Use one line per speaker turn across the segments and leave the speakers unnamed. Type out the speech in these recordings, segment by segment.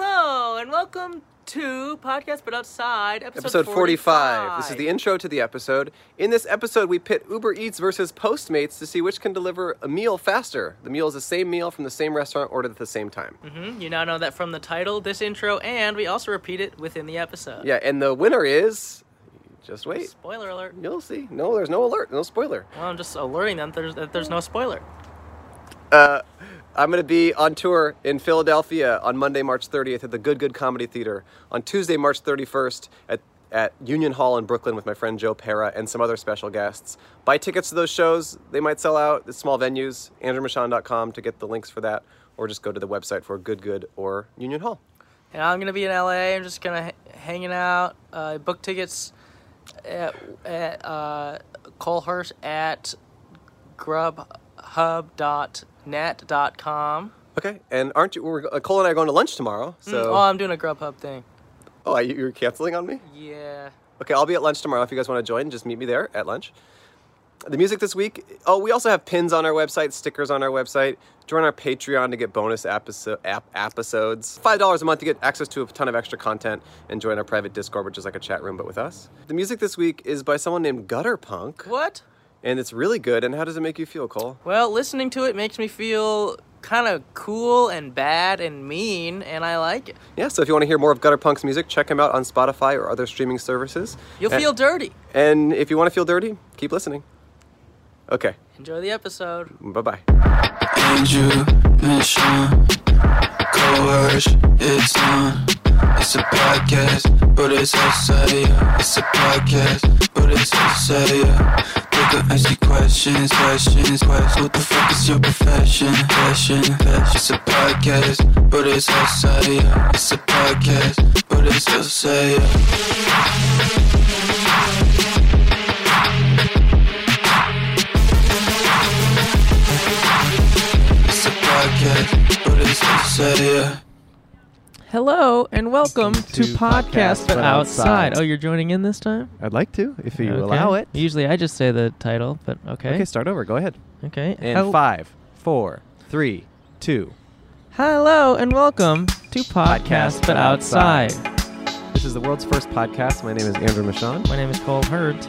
and welcome to Podcast But Outside, episode,
Episode 45. This is the intro to the episode. In this episode, we pit Uber Eats versus Postmates to see which can deliver a meal faster. The meal is the same meal from the same restaurant ordered at the same time.
Mhm, You now know that from the title, this intro, and we also repeat it within the episode.
Yeah, and the winner is. Just wait.
Spoiler alert.
You'll see. No, there's no alert, no spoiler.
Well, I'm just alerting them there's, that there's no spoiler.
I'm going to be on tour in Philadelphia on Monday, March 30th at the Good Good Comedy Theater. On Tuesday, March 31st at, at Union Hall in Brooklyn with my friend Joe Pera and some other special guests. Buy tickets to those shows. They might sell out. It's small venues. AndrewMachon.com to get the links for that, or just go to the website for Good Good or Union Hall.
And I'm going to be in LA. I'm just going to h- hanging out. Uh, book tickets at, at uh, Colehurst at grubhub.net.com.
Okay, and aren't you? We're, uh, Cole and I are going to lunch tomorrow. So,
Oh, I'm doing a Grubhub thing.
oh, you- you're canceling on me?
Yeah.
Okay, I'll be at lunch tomorrow. If you guys want to join, just meet me there at lunch. The music this week. Oh, we also have pins on our website, stickers on our website. Join our Patreon to get bonus episode, ap- episodes. Five dollars a month to get access to a ton of extra content, and join our private Discord, which is like a chat room but with us. The music this week is by someone named Gutter Punk,
What?
and it's really good. And how does it make you feel, Cole?
Well, listening to it makes me feel kind of cool and bad and mean, and I like it.
Yeah. So if you want to hear more of Gutter Punk's music, check him out on Spotify or other streaming services.
You'll
Eh.
And-
feel dirty.
And if you want to feel dirty, keep listening. Okay.
Enjoy the episode.
Bye bye.
Andrew Mission Coerce, it's on It's a podcast, but it's outside, yeah. It's a podcast, but it's outside, yeah They can ask you questions, questions, questions What the fuck is your profession, fashion, fashion It's a podcast, but it's outside, yeah. It's a podcast, but it's outside, yeah. It's a podcast, but it's outside, yeah
Hello and welcome to
to Podcast Podcast But But Outside. Outside.
Oh, you're joining in this time?
I'd like to, if you allow it.
Usually I just say the title, but okay.
Okay, start over. Go ahead.
Okay.
And five, four, three, two.
Hello and welcome to Podcast But
But
Outside.
Outside. This is the world's first podcast. My name is Andrew Michon.
My name is Cole Hurd.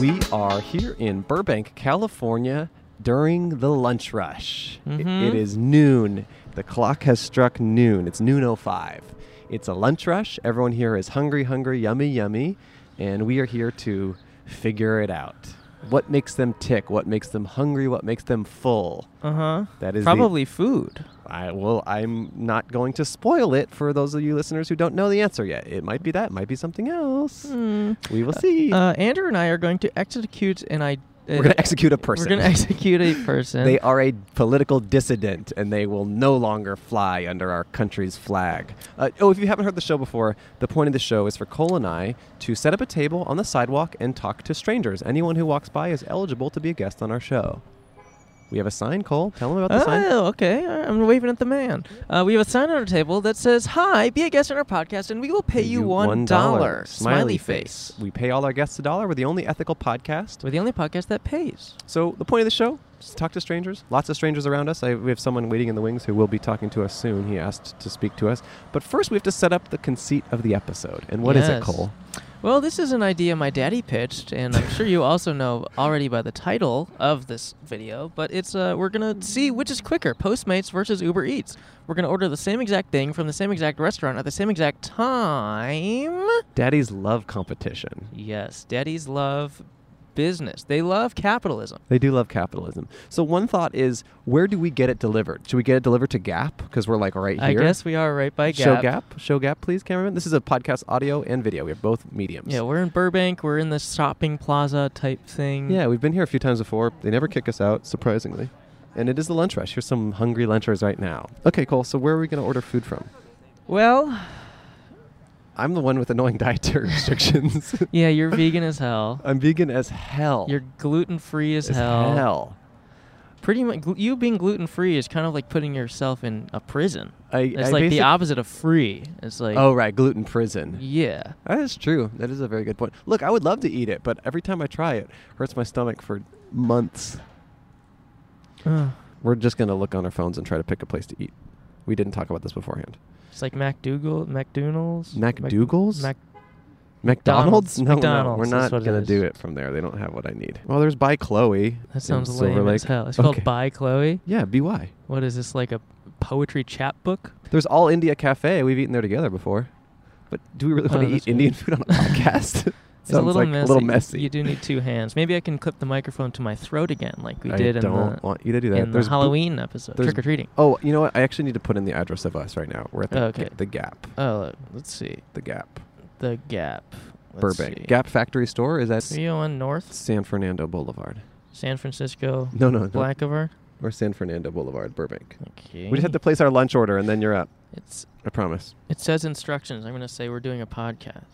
We are here in Burbank, California during the lunch rush. I-
Mhm.
it is noon. The clock has struck noon. It's noon 05. It's a lunch rush. Everyone here is hungry, hungry, yummy, yummy. And we are here to figure it out. What makes them tick? What makes them hungry? What makes them full?
Uh huh.
That is the-
probably food.
I well, I'm not going to spoil it for those of you listeners who don't know the answer yet. It might be that, it might be something else.
Hmm.
We will see.
Uh, Andrew and I are going to execute an I. uh,
We're going to execute a person.
We're going to execute a person.
They are a political dissident, and they will no longer fly under our country's flag. Uh, oh, if you haven't heard the show before, the point of the show is for Cole and I to set up a table on the sidewalk and talk to strangers. Anyone who walks by is eligible to be a guest on our show. We have a sign, Cole. Tell them about the sign.
Oh, okay. All right, I'm waving at the man. Uh, we have a sign on our table that says, "Hi, be a guest on our podcast, and we will pay you one dollar." Smiley face.
We pay all our guests a dollar. We're the only ethical podcast.
We're the only podcast that pays.
So the point of the show is to talk to strangers. Lots of strangers around us. I, we have someone waiting in the wings who will be talking to us soon. He asked to speak to us. But first, we have to set up the conceit of the episode. And what is
Yes.
it, Cole?
Well, this is an idea my daddy pitched, and I'm sure you also know already by the title of this video. But it's uh, we're gonna see which is quicker, Postmates versus Uber Eats. We're gonna order the same exact thing from the same exact restaurant at the same exact time.
Daddy's love competition.
Yes, daddies love business. They love capitalism.
They do love capitalism. So one thought is, where do we get it delivered? Should we get it delivered to Gap because we're like right
I
here?
guess we are right by
Show Gap, show Gap, please, cameraman. This is a podcast, audio and video. We have both mediums.
Yeah, we're in Burbank. We're in this shopping plaza type thing.
Yeah, we've been here a few times before. They never kick us out, surprisingly. And it is the lunch rush. Here's some hungry lunchers right now. Okay, Cole, so where are we going to order food from?
Well,
I'm the one with annoying dietary restrictions.
yeah, you're vegan as hell.
I'm vegan as hell.
You're gluten free as,
as
hell. Pretty much, glu- you being gluten free is kind of like putting yourself in a prison.
I,
It's
I
like the
basic-
opposite of free. It's like
Oh, right, gluten prison.
yeah.
That is true. That is a very good point. Look, I would love to eat it, but every time I try it, hurts my stomach for months.
Ugh.
We're just going to look on our phones and try to pick a place to eat. We didn't talk about this beforehand.
It's like MacDougall, McDonald's.
McDougal's?
Mac-
McDonald's? No, no,
McDonald's
we're
is
not
what it
gonna
is.
do it from there. They don't have what I need. Well, there's by Chloe. in
that sounds
Silver
lame
Lake.
as hell. It's
Okay.
called By Chloe.
Yeah, by.
What is this like a poetry chapbook?
There's All India Cafe. We've eaten there together before. But do we really
Oh,
want to
that's good.
eat Indian food on a podcast?
It's
Sounds
a little
like
messy.
a little messy.
You do need two hands. Maybe I can clip the microphone to my throat again, like we
I
did in
don't
the
want you to do that.
in the
There's bo-
Halloween episode,
there's-
trick or treating.
Oh, you know what? I actually need to put in the address of us right now. We're at the,
Okay.
the Gap.
Oh, look, let's see
The Gap.
the Gap. Let's
Burbank.
see.
Gap Factory Store is at
Three hundred one North,
San Fernando Boulevard.
San Francisco.
No, no, no.
Blackover.
Or San Fernando Boulevard, Burbank.
Okay.
We just have to place our lunch order and then you're up.
It's
I promise.
it says instructions. I'm gonna say we're doing a podcast.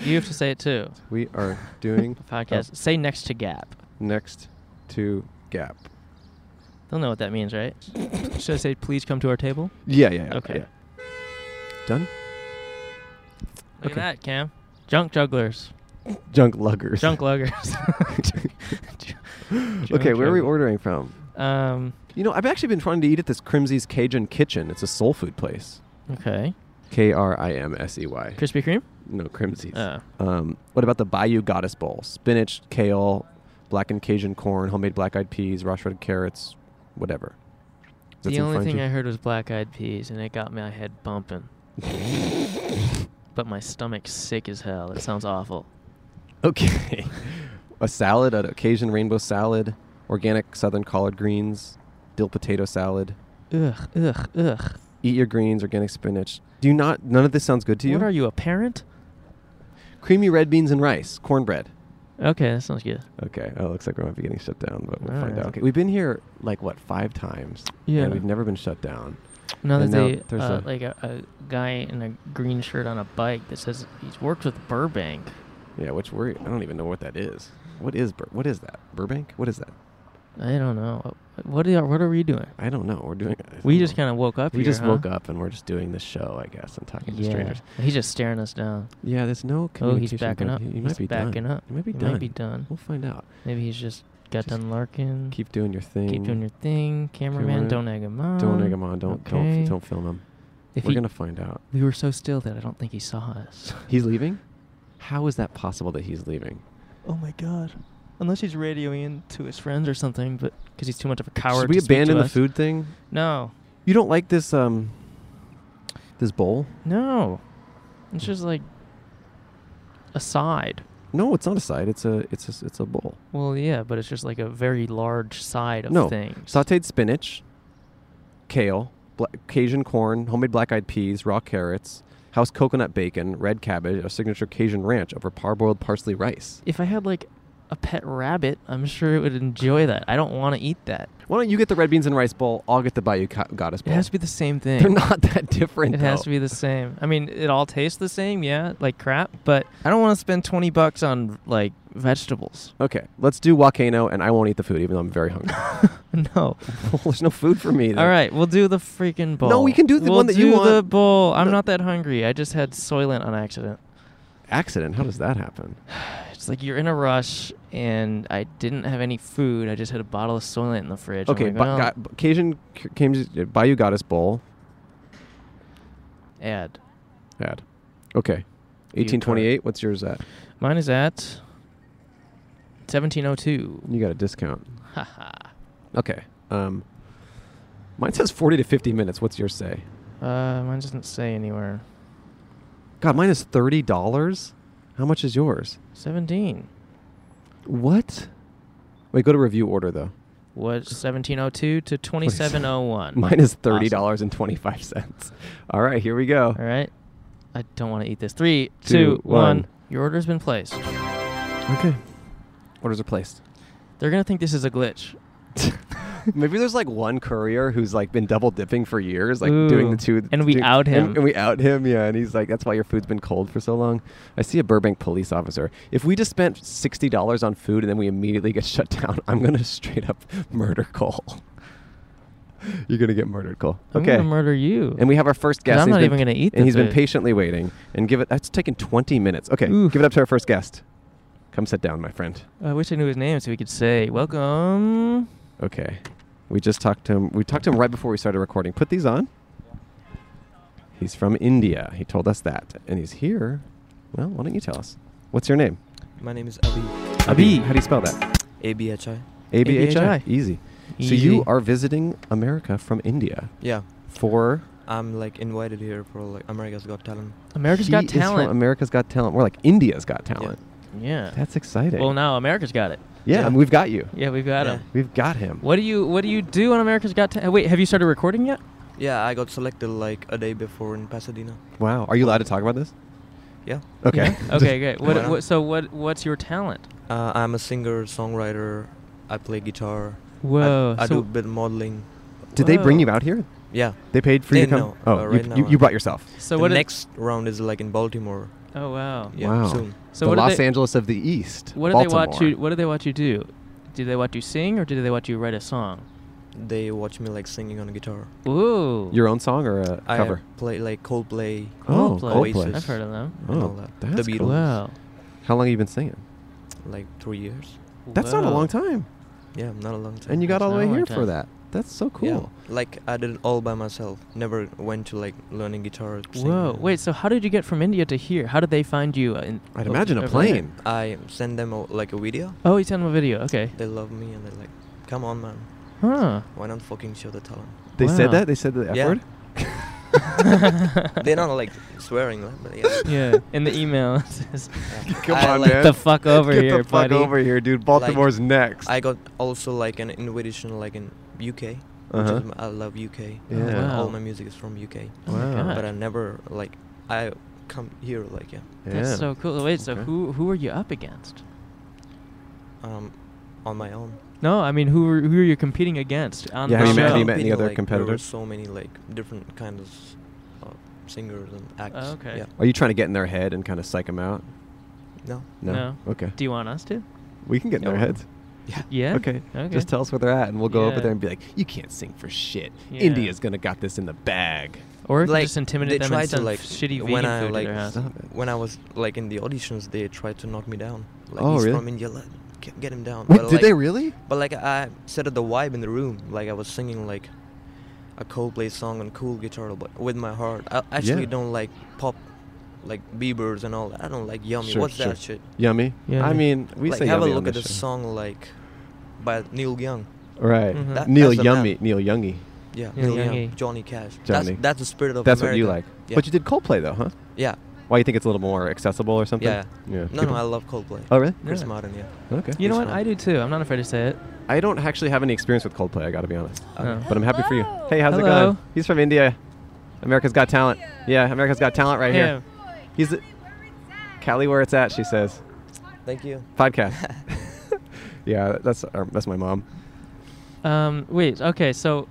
You have to say it too.
we are doing
A podcast.
a
Say next to Gap.
next to Gap.
They'll know what that means, right? Should I say please come to our table?
Yeah, yeah, yeah.
Okay.
yeah. Done?
Look
Okay.
at that, Cam. Junk jugglers.
Junk luggers.
Junk luggers.
okay, where are we
jugglers.
ordering from?
um.
You know, I've actually been trying to eat at this Crimsey's Cajun Kitchen. It's a soul food place.
Okay.
K R I M S E Y.
Krispy Kreme.
No, Crimsey's.
Oh.
Um, what about the Bayou Goddess Bowl? Spinach, kale, blackened Cajun corn, homemade black eyed peas, rosh red carrots, whatever. Does that
The
seem
only
fine to
thing
you?
I heard was black eyed peas, and it got my head bumping. but my stomach's sick as hell. It sounds awful.
Okay. a salad, an Cajun rainbow salad, organic southern collard greens, dill potato salad.
Ugh, ugh, ugh.
Eat your greens, organic spinach. Do you not? None of this sounds good to you.
What are you, a parent?
Creamy red beans and rice, cornbread.
Okay, that sounds good.
Okay. Oh, it looks like we might be getting shut down, but we'll find
Alright.
out. Okay. We've been here like what five times.
Yeah.
And we've never been shut down.
Now that
And now
they,
there's
uh,
a-
like a, a guy in a green shirt on a bike that says he's worked with Burbank.
Yeah. Which we I don't even know what that is. What is Bur- what is that? Burbank? What is that?
I don't know. What are what are we doing?
I don't know. We're doing.
We just kind of woke up.
We
here,
just
huh?
woke up and we're just doing the show, I guess, and talking to
Yeah.
strangers.
He's just staring us down.
Yeah, there's no
Oh, he's
communication.
backing
but
up.
He, he
he's
might be
backing
done.
up.
He might be
He
done.
Might be done.
We'll find out.
Maybe he's just got
Just
done lurking.
Keep doing your thing.
Keep doing your thing, cameraman.
Cameraman,
Don't egg him on.
Don't egg him on. Don't
okay.
don't don't film him.
If
we're
he-
gonna find out.
We were so still that I don't think he saw us.
He's leaving. How is that possible that he's leaving?
oh my god! Unless he's radioing in to his friends or something, but because he's too much of a coward.
Should we
to speak to
abandon the
us.
food thing?
No,
You don't like this um this bowl?
no. It's just like a side.
No, it's not a side. It's a it's a it's a bowl.
Well, yeah, but it's just like a very large side of
no
things.
sautéed spinach, kale, bla- Cajun corn, homemade black-eyed peas, raw carrots, house coconut bacon, red cabbage, our signature Cajun ranch over parboiled parsley rice.
If I had like a pet rabbit, I'm sure it would enjoy that. I don't want to eat that.
Why don't you get the red beans and rice bowl? I'll get the Bayou co- Goddess
It
bowl.
has to be the same thing.
They're not that different.
It has
though.
to be the same. I mean, it all tastes the same, yeah, like crap, but I don't want to spend 20 bucks on like vegetables.
Okay, let's do volcano, and I won't eat the food, even though I'm very hungry.
No.
Well, There's no food for me. then.
All right, we'll do the freaking bowl.
No, we can do the
We'll
one that you
do the
want.
bowl. I'm
No.
not that hungry. I just had Soylent on accident.
Accident. How does that happen?
It's like you're in a rush and I didn't have any food. I just had a bottle of Soylent in the fridge. I'm
Okay,
like, oh,
but
well,
got, Cajun c- came uh, Bayou Goddess bowl.
ad.
Ad. Okay,
View
eighteen twenty-eight. What's yours at?
Mine is at 1702.
You got a discount.
Haha.
Okay. Um, mine says forty to fifty minutes. What's yours say?
uh, mine doesn't say anywhere.
God, mine is thirty dollars. How much is yours?
17.
What? Wait, go to review order though.
was 1702 to 2701.
Mine is thirty
Awesome.
dollars and twenty-five cents. All right, here we go.
All right. I don't want to eat this. Three,
Two,
two, one.
one.
Your order's been placed.
Okay. Orders are placed.
They're going to think this is a glitch.
Maybe there's like one courier who's like been double dipping for years, like
Ooh.
doing the two.
And we
doing-
out him.
And, and we out him, yeah. And he's like, that's why your food's been cold for so long. I see a Burbank police officer. If we just spent $60 on food and then we immediately get shut down, I'm going to straight up murder Cole. You're going to get murdered, Cole.
I'm
okay.
going to murder you.
and we have our first guest.
I'm
He's
not
been-
even gonna eat
And
the
he's been
food.
patiently waiting. And give it, that's taken 20 minutes. Okay.
Oof.
Give it up to our first guest. Come sit down, my friend.
I wish I knew his name so we could say, Welcome.
Okay. We just talked to him. We talked to him right before we started recording. Put these on. He's from India. He told us that, and he's here. Well, why don't you tell us? What's your name?
My name is Abi.
Abi.
How do you spell that?
A B H I.
A B H I.
ABHI.
Easy. So
Easy.
you are visiting America from India
Yeah. Uh,
for
I'm like invited here for like America's Got Talent.
America's
He
Got
is from
Talent.
America's Got Talent. We're like India's Got Talent.
yeah.
That's exciting.
well, now America's got it.
yeah,
yeah.
and we've got you.
Yeah, we've got
Yeah.
him.
We've got him.
What do you What do you do on America's Got Talent? Wait, have you started recording yet?
Yeah, I got selected like a day before in Pasadena.
Wow. Are you allowed to talk about this?
Yeah.
Okay.
okay, great.
Why
What,
not?
what, so what What's your talent?
Uh, I'm a singer, songwriter. I play guitar. I-
Whoa,
I,
so-
do a bit modeling.
Did they bring
Whoa.
you out here?
Yeah.
They paid for you to
They-
come.
no,
oh,
uh,
you,
right
you,
now
you
I'm-
brought yourself.
So
the
what? did-
next round is like in Baltimore.
oh wow.
Yeah,
wow.
soon.
So
the
what did
Los
they-
Angeles of the East.
What do they
Baltimore.
watch you What do they watch you do? Do they watch you sing or do they watch you write a song?
They watch me like singing on a guitar.
Ooh.
Your own song or a
I
cover?
play like Coldplay.
Oh,
Coldplay.
Coldplay.
I've heard of them.
and
Oh,
all that.
that's
the
cool.
Beatles.
Wow.
How long have you been singing?
Like three years.
That's not a
Whoa.
long time.
Yeah, not a long time.
And you got
That's
all the
not
way
a long
here for
time.
that. That's so cool.
Yeah. Like I did it all by myself. Never went to like learning guitar. or singing.
Whoa. Wait. So how did you get from India to here? How did they find you? uh, In,
I'd
o-
imagine a
over there?
plane. Uh,
I send them a, like a video.
Oh, you sent them a video. Okay.
They love me and they're like, "Come on, man,
Huh.
why not fucking show the talent?"
They said
Wow.
that? They said the F
Yeah.
word?
They're not like swearing, like, but yeah.
Yeah. In the email. it says,
Yeah.
Come
I,
on,
like,
man.
Get the fuck over
Get
here,
the fuck
buddy.
over here, dude. Baltimore's next.
I got also like an invitation like in UK. Which
Uh-huh.
is, m- I love UK.
Yeah.
Like,
Wow.
All my music is from UK.
Oh my
Wow.
God.
But I never like I come here like yeah.
That's
Yeah.
so cool. Wait. So
Okay.
who who are you up against?
Um, on my own.
No, I mean who are, who are you competing against on the
Yeah, have you
show?
met- have you met any
Competing,
other
like, There were
competitors?
so many like different kinds of uh, singers and acts.
Oh, okay.
Yeah.
Are you trying to get in their head and kind of psych them out?
No.
No.
No.
Okay.
Do you want us to?
we can get in
Yeah,
their
why
heads.
Yeah.
Yeah.
Okay.
Okay.
Just tell us where they're at, and we'll go over
Yeah.
there and be like, "You can't sing for shit.
Yeah.
India's gonna got this in the bag."
Or you can
Like,
just intimidate
they
them
tried
and
to,
send
like,
shitty
when
vegan
I,
food
like,
to their house.
Stop it.
When I was like in the auditions, they tried to knock me down. Like,
Oh,
he's
really?
from India. Like, get, get him down.
What
But,
did
like-
they really?
But like I set up the vibe in the room. Like I was singing like a Coldplay song on cool guitar, but with my heart. I actually
Yeah.
don't like pop, like Bieber's and all that. I don't like yummy.
Sure,
What's
sure.
that shit?
Yummy.
Yummy.
I mean, we
like
say
have a
yummy
look
on
at
this
the
show.
song like by Neil Young.
Right.
Mhm.
That-
Neil
that's the man.
Yummy. Neil Youngy.
Yeah,
Neil
Neil Young,
Young.
Johnny Cash.
Johnny.
That's that's the spirit of
That's what
America.
you like.
Yeah.
But you did Coldplay though, huh?
Yeah.
Why you think it's a little more accessible or something?
Yeah.
Yeah.
No,
People-
no, I love Coldplay.
Oh really?
Chris
Yeah.
Martin, yeah.
Okay.
You know
It's
what?
fun.
I do too. I'm not afraid to say it.
I don't actually have any experience with Coldplay. I got to be honest.
No.
But I'm happy for you.
Hello.
Hey, how's
Hello.
it going? He's from India. America's Got Talent. Yeah, America's Got Talent right here.
Yeah.
He's the- Cali, where it's at, she says.
Thank you.
Podcast. yeah, that's our, that's my mom.
Um. Wait. Okay. So.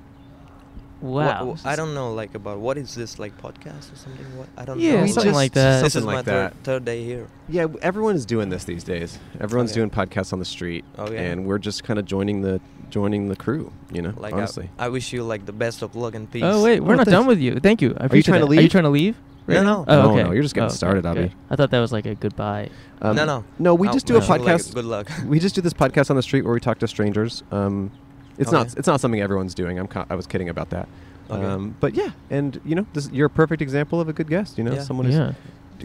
Wha-
Wow.
wha- I don't know, like about what is this like podcast or something? What I don't
Yeah,
know.
We something just- like that.
This is
something
my
like
third,
that.
third day here. Oh,
Yeah, w- everyone's doing this these days. Everyone's
yeah.
doing podcasts on the street,
Oh, yeah.
and we're just kind of joining the joining the crew. You know,
Like I-
honestly.
I, wish you like the best of luck and peace.
Oh wait, we're
Oh,
not
thanks.
done with you. Thank you. I
Are you
appreciate
trying to
that. Are you
leave?
trying to leave?
No,
right
no.
now? Oh,
No,
okay.
no, you're just getting
okay,
started,
okay.
Abby.
I thought that was like a goodbye.
no, no,
Um, no. We
I
just do a
wish you, like,
podcast.
good luck.
we just do this podcast on the street where we talk to strangers. Um, it's
Okay.
not it's not something everyone's doing. I'm co- I was kidding about that.
Okay.
Um, but yeah, and you know, this, you're a perfect example of a good guest. You know,
Yeah.
someone who's.
Yeah.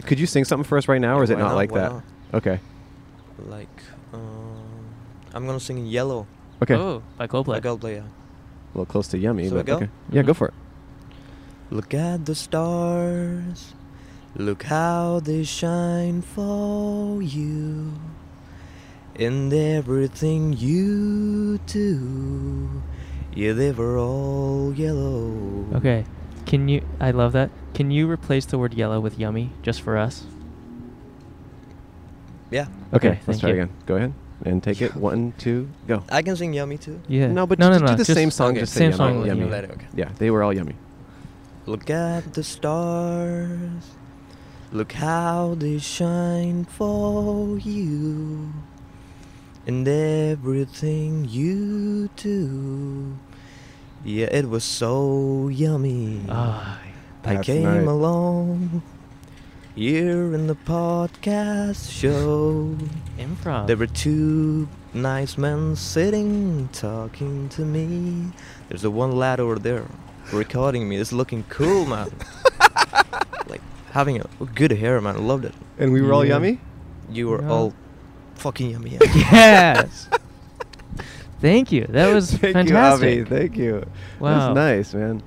Could you sing something for us right now, or
Yeah,
is it
why
not
not?
like
Why
that?
not?
Okay.
Like, um, I'm gonna sing in yellow.
Okay.
Oh, by Coldplay.
Like I'll play. Yeah.
A little close to yummy,
Shall we
but
go?
okay. Yeah, go for it.
Look at the stars. Look how they shine for you. In everything you do, yeah, they were all yellow.
Okay. Can you? I love that. Can you replace the word yellow with yummy just for us?
Yeah.
Okay,
Okay, let's
thank
try
you.
again. Go ahead and take it. One, two, go.
I can sing yummy too.
Yeah.
No, but
no,
just
no,
do
no,
the same song.
okay,
just
same
say yummy,
song with
Yummy.
yummy.
Later, okay.
Yeah, they were all yummy.
Look at the stars. Look how they shine for you. And everything you do. Yeah, it was so yummy.
Ah.
I
That's
came
nice.
along. Here in the podcast show,
Improv.
there were two nice men sitting talking to me. There's the one lad over there recording me. It's looking cool, man. like having a good hair, man. I loved it.
And we were all
Yeah.
yummy.
You were
Yeah.
all fucking yummy.
yes. Thank you. That was
Thank
fantastic.
you, Avi. Thank you.
Wow.
That's nice, man.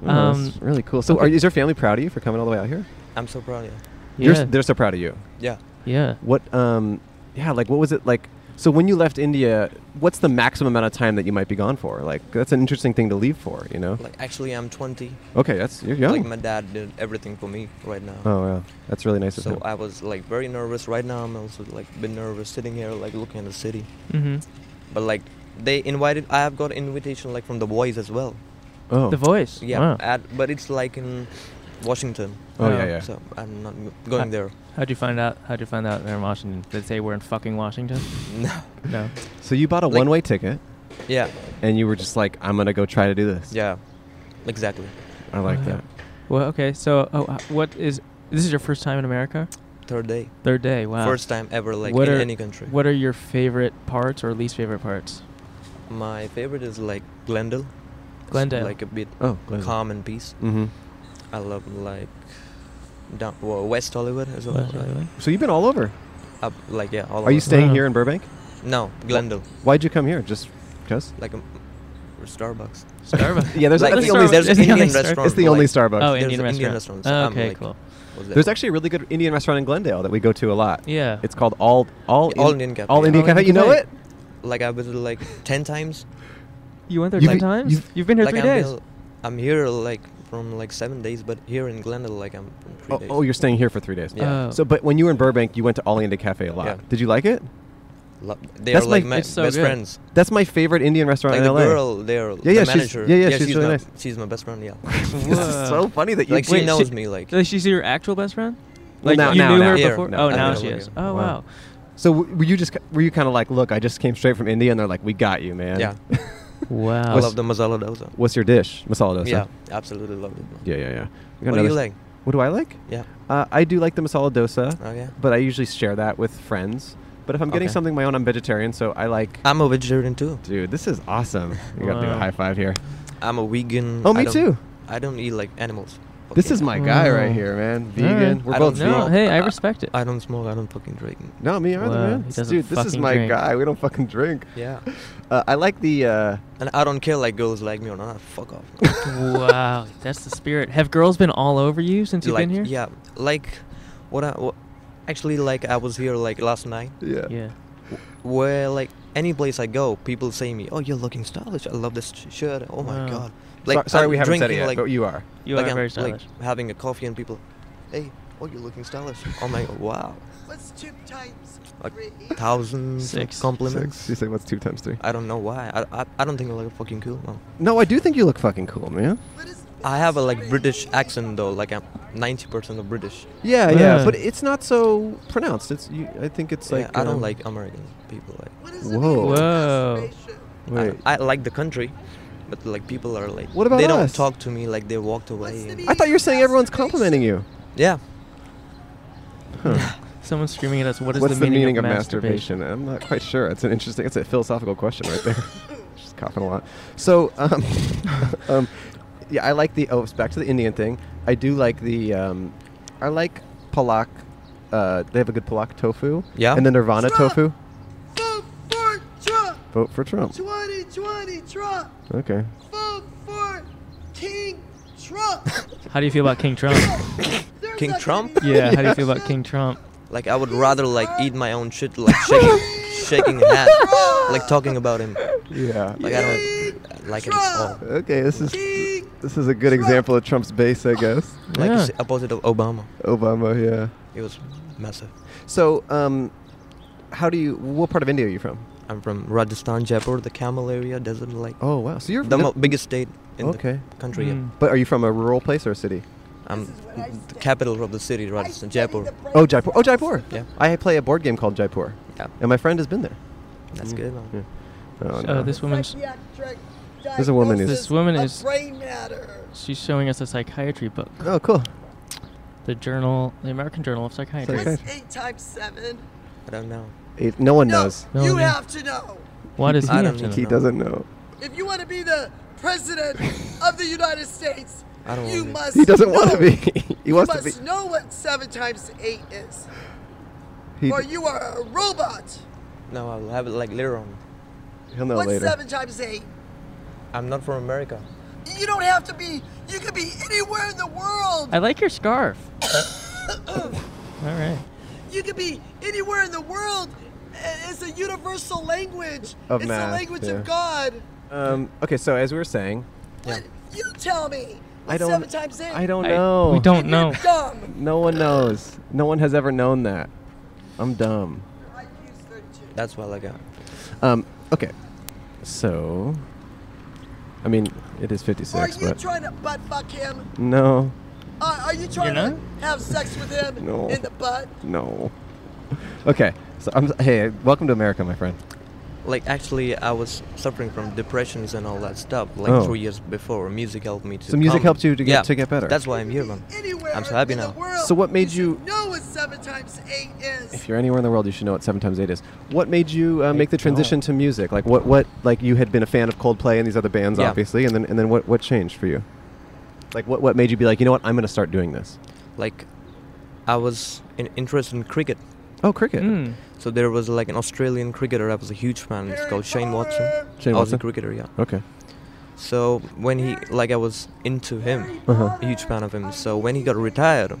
Wow, that's
Um,
really cool. So,
okay.
are, is your family proud of you for coming all the way out here?
I'm so proud of you.
You're
Yeah.
s- they're so proud of you.
Yeah.
yeah.
What? Um, yeah. Like, what was it like? So, when you left India, what's the maximum amount of time that you might be gone for? Like, that's an interesting thing to leave for. You know.
Like actually, I'm 20.
okay, that's you're young.
Like my dad did everything for me right now.
oh wow, that's really nice of
So
him.
I was like very nervous. Right now, I'm also like been nervous sitting here, like looking at the city.
Mm-hmm.
But like they invited, I have got invitation like from the boys as well.
oh.
The voice.
Yeah,
Wow.
at, but it's like in Washington.
Oh, yeah,
Wow.
yeah.
So I'm not m-
Uh,
going there.
How'd you find out? How'd you find out they're in Washington? Did they say we're in fucking Washington?
No.
No.
So you bought a
Like-
one-way ticket,
Yeah.
and you were just like, "I'm gonna go try to do this."
Yeah. Exactly.
I like
Wow.
that.
Well, okay. So, oh, uh, what is this? Is your first time in America?
Third day.
Third day. Wow.
First time ever, like
What
in
are-
any country.
What are your favorite parts or least favorite parts?
My favorite is like Glendale. It's,
Glendale.
Like a bit
Oh, Glendale.
calm and peace.
Mm-hmm.
I love like down well, West Hollywood as well.
West Hollywood?
So you've been all over.
Up, like yeah, all
Are you
over.
staying
Wow.
here in Burbank?
No, Glendale.
Why'd you come here? Just because?
Like a or Starbucks.
Starbucks.
Yeah, there's
Like,
that's the
Starbucks.
only-
there's
it's
an
the only
Indian
Starbucks.
restaurant.
It's the only
like-
Starbucks.
Oh,
There's
Indian
an
restaurant.
Indian restaurant.
Oh,
I'm
okay,
like-
cool.
was
There's
there.
actually a really good Indian restaurant in Glendale that we go to a lot.
Yeah.
It's called All All
All Indian Cafe.
All Indian
All
Cafe. You
Indian
know
Cafe.
it?
like I visited like ten times.
you went there
You've
ten
been-
times.
you've-
You've, been here
like
3
I'm
days.
Here, I'm here like from like seven days, but here in Glendale, like I'm from three
Oh,
days.
oh, you're staying here for three days.
Yeah.
Oh.
So, but when you were in Burbank, you went to All Indian Cafe a lot.
Yeah.
Did you like it?
Lo- they
That's
are like
my-
my
it's so
best
good.
friends.
That's my favorite Indian restaurant
Like
in
the
LA.
girl, there,
Yeah, yeah,
the
she's-
manager.
yeah, yeah, she's really
my,
nice.
She's my best friend. Yeah,
this is so
Whoa.
funny that you
like she
Wait,
knows
she-
me. Like
Does she see your actual best friend?
Well,
Like
now-
you
now-
knew
now.
her
Here.
before?
Now.
oh, now
Okay.
she is.
Okay.
Oh,
Wow.
wow.
So w- were you just ki- were you kind of like, look, I just came straight from India, and they're like, we got you, man.
Yeah.
Wow.
I
What's-
love the masala dosa.
What's your dish? Masala dosa.
Yeah, absolutely love it. man.
Yeah, yeah, yeah. We got
What do you
another-
like?
What do I like?
Yeah.
Uh, I do like the masala dosa.
Oh, yeah.
But I usually share that with friends. But if I'm getting
Okay.
something my own, I'm vegetarian, so I like.
I'm a vegetarian too.
Dude, this is awesome. We gotta do a
Wow.
high five here.
I'm a vegan.
Oh,
I
me
don't-
too.
I don't eat like animals.
This
Fucking- Mm.
is my guy right
Wow.
here,
Oh.
man.
All right.
Vegan. We're
I don't
both
know.
no,
vegan.
hey, I respect it.
I don't smoke. I don't fucking drink.
No, me
Wow,
either, man.
he doesn't
Dude, this is
fucking
my
drink.
guy. We don't fucking drink.
Yeah.
Uh, I like the. Uh,
And I don't care like girls like me or not. Fuck off.
wow, that's the spirit. Have girls been all over you since you've
like
been here?
yeah, like what I what, actually like I was here like last night.
yeah.
Yeah.
Where like any place I go, people say me, "Oh, you're looking stylish. I love this sh- shirt. Oh my
Wow.
god."
Sor-
Like
sorry,
I'm
we haven't said it
drinking,
yet,
like,
but you are.
You
like,
are
I'm,
very
like,
stylish.
having a coffee and people, "Hey, oh, you're looking stylish." Oh my god, wow.
What's two times
Like
three?
thousand
Six.
compliments.
Six. You say what's two times three?
I don't know why. I, I, I don't think I look fucking cool. No.
No, I do think you look fucking cool, man.
What is
I have a like British accent though. Like I'm 90% of British.
Yeah, yeah,
Yeah.
but it's not so pronounced. It's. You, I think it's
Yeah,
like.
I don't
um,
like American people. Like
What is
Whoa.
Whoa.
I,
Wait.
I like the country, but like people are like.
What about
They don't
us?
talk to me like they walked away.
the
and-
meaning?
I thought you were saying everyone's complimenting you.
yeah,
Someone's screaming at us. What is
What's
the, meaning, of, masturbation?
I'm not quite sure. It's an interesting. It's a philosophical question right there. She's coughing a lot. So, um, um, yeah, I like the. Oh, it's back to the Indian thing. I do like the. Um, I like palak. Uh, they have a good palak tofu.
Yeah.
And the Nirvana
Stop.
tofu.
Vote for Trump.
Vote for Trump.
2020 Trump.
Okay.
Vote for King Trump.
How do you feel about King Trump?
There's
King
not gonna
Trump?
be
yeah, how do you
no
feel about
shit.
King Trump?
like I would rather like eat my own shit, like shaking, shaking hand, like talking about him.
Yeah.
Like I don't like it at all.
Okay. This is
King.
this is a good example of Trump's base, I guess.
Like
Yeah.
it's opposite of Obama.
Obama. Yeah.
It was massive.
So, um, how do you? What part of India are you from?
I'm from Rajasthan, Jaipur, the camel area, desert, like
Oh wow. So you're
the mo- biggest state in
Okay. Hmm.
the country. yeah.
Mm.
But are you from a rural place or a city?
I'm
This is what I
the
said.
capital of the city, Rajasthan, Jaipur.
Oh, Jaipur. Oh, Jaipur.
Yeah.
I play a board game called Jaipur,
Yeah,
and my friend has been there.
that's good. man.
Hmm. Yeah. Mm. Oh,
Uh, this woman's.
There's
a woman who's-
This woman is-
Brain matter.
She's showing us a psychiatry book.
Oh, cool.
The Journal, the American Journal of Psychiatry.
Okay.
What's eight times seven?
I don't know.
It, no one
No,
knows.
No,
you
no.
have to know.
Why does he
I
have
don't
to
know.
know?
He doesn't know.
If you want to be the president of the United States,
I don't
you
wanna be.
must.
He doesn't want to
know.
be. He
You
wants to
must
be.
know what seven times eight is,
He,
or you are a robot.
No, I'll have it like later on.
he'll know
What's
later.
seven times eight?
I'm not from America.
You don't have to be. You could be anywhere in the world.
I like your scarf. All right.
You could be anywhere in the world. I- It's a universal language.
Of
it's
math,
the language
yeah.
of God.
Um, okay, so as we were saying,
But you tell me.
I
What's
don't.
seven times eight.
I don't
I-
know.
we don't know.
You're dumb.
No one knows. No one has ever known that. I'm dumb.
Your IQ is 32.
That's uh, what I got.
Um, okay. So, I mean, it is 56,
are you
but
trying to butt fuck him?
no,
Are, are you trying
You're
to have sex with him
No.
in the butt?
no. Okay. So I'm. Hey, welcome to America, my friend.
Like actually, I was suffering from depressions and all that stuff. Like
Oh.
three years before, music helped me to.
So music
calm-
helped you to get-
Yeah,
to get better.
That's why I'm here, man.
Anywhere
I'm so happy
in
now.
the world.
So what made
you
you-
know what seven times eight is?
If you're anywhere in the world, you should know what seven times eight is. What made you uh, make the transition to music? Like what? What? Like you had been a fan of Coldplay and these other bands,
Yeah.
obviously, and then and then what? What changed for you? Like what? What made you be like, you know what? I'm going to start doing this.
Like, I was in, interested in cricket.
Oh, cricket.
Mm.
So there was like an Australian cricketer I was a huge fan. It's called Shane Watson.
Shane
I was a
Watson?
cricketer, yeah.
Okay.
So when he like I was into him,
Uh-huh.
a huge fan of him. So when he got retired,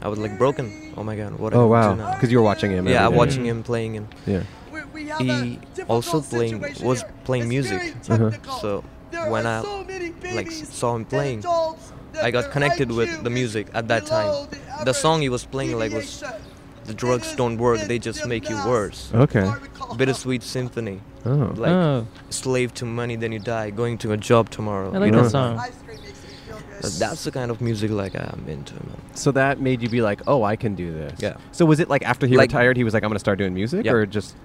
I was like broken. Oh my god, what? am
Oh
I gonna do
wow.
now?
Because you were watching him.
Yeah, I
every day.
watching him playing him.
Yeah.
We, we have a
He
difficult
also playing
situation
was
here.
playing
It's
music.
very
Uh-huh.
technical.
So
There
when
are
I
so many
like
babies
saw him
and
playing,
adults that
I got
their
connected with
IQ
the
is
music at that
below
time. The song he was playing like was
average
the drugs
deviation.
don't work;
It
they
is
just make you
gymnast.
worse.
Okay.
Bittersweet symphony,
Oh.
like
Oh.
slave to money, then you die. Going to a job tomorrow.
I like
know.
that song.
Ice cream makes me feel good.
So that's the kind of music like I'm into, man.
So that made you be like, oh, I can do this.
Yeah.
So was it like after he
Like-
retired, he was like, I'm going to start doing music,
Yeah.
or just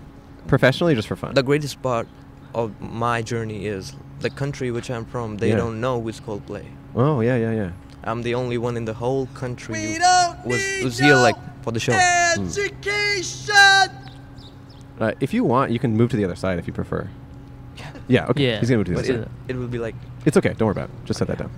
professionally, just for fun?
the greatest part of my journey is the country which I'm from. They
Yeah.
don't know who's Coldplay.
oh yeah, yeah, yeah.
I'm the only one in the whole country
we
who
don't
was,
need
was here
no
like for the show.
Hmm.
Education.
Uh, if you want, you can move to the other side if you prefer. Yeah. Okay.
Yeah.
He's going to move to
But
the other
it,
side.
it would be like
It's okay. Don't worry about it. Just set that down.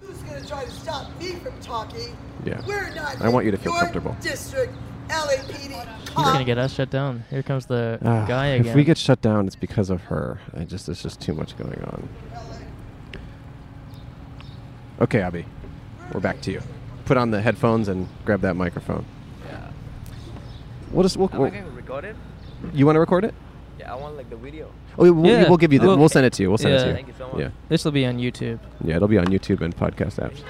Who's gonna try to stop me from talking?
Yeah.
We're not.
I want
in
you to feel
your
comfortable.
District LAPD.
He's gonna get us shut down. Here comes the
Ah,
guy again.
If we get shut down, it's because of her. I just there's just too much going on. Okay, Abby, we're back to you. Put on the headphones and grab that microphone.
yeah.
We'll just
Oh
we'll, we'll-
record it.
you want to record it?
Yeah, I want like the video.
Oh, we- we'll,
Yeah.
we'll give you the.
Well-
We'll send it to you. We'll send it to
Yeah.
you.
Thank you so much.
Yeah,
this will be on YouTube.
yeah, it'll be on YouTube and podcast apps.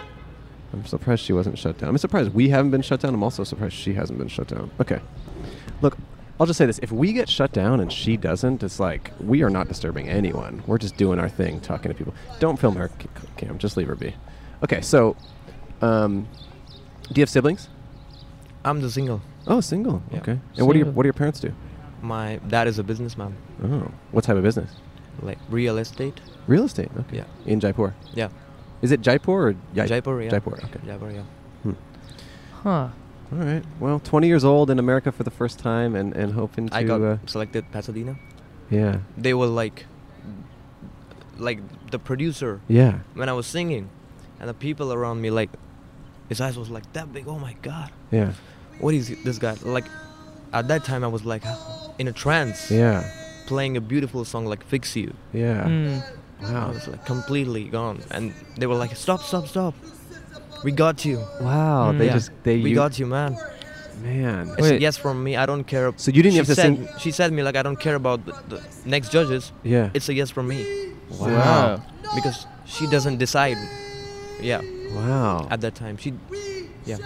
I'm surprised she wasn't shut down. I'm surprised we haven't been shut down. I'm also surprised she hasn't been shut down. Okay, look, I'll just say this: if we get shut down and she doesn't, it's like we are not disturbing anyone. We're just doing our thing, talking to people. Don't film her, C- Cam. Just leave her be. Okay, so, um, do you have siblings?
I'm the single.
Oh, single.
Yeah.
Okay. And what do your
Single.
what do your parents do?
My dad is a businessman,
Oh, what type of business?
like real estate.
Real estate. Okay.
Yeah.
In Jaipur.
Yeah.
Is it Jaipur or Yai-
Jaipur, yeah.
Jaipur. Okay. Hmm.
Jaipur, yeah.
Huh.
All right. Well, 20 years old in America for the first time, and and hoping to.
I got
uh,
selected Pasadena.
yeah.
They were like, like the producer
Yeah.
when I was singing, and the people around me like, his eyes was like that big. Oh my god,
Yeah.
what is this guy like? At that time, I was like in a trance,
Yeah.
playing a beautiful song like "Fix You."
Yeah.
Mm.
I
Wow.
was like completely gone, and they were like, "Stop, stop, stop! We got you.
Wow. They
Yeah.
just they
Hmm. we
u-
got you, man."
man.
It's a yes from me. I don't care.
So you didn't
she
have to
said-
sing-
She said me like, "I don't care about the, the next judges."
Yeah.
It's a yes from me
wow.
because she doesn't decide. Yeah,
Wow.
at that time she. Yeah,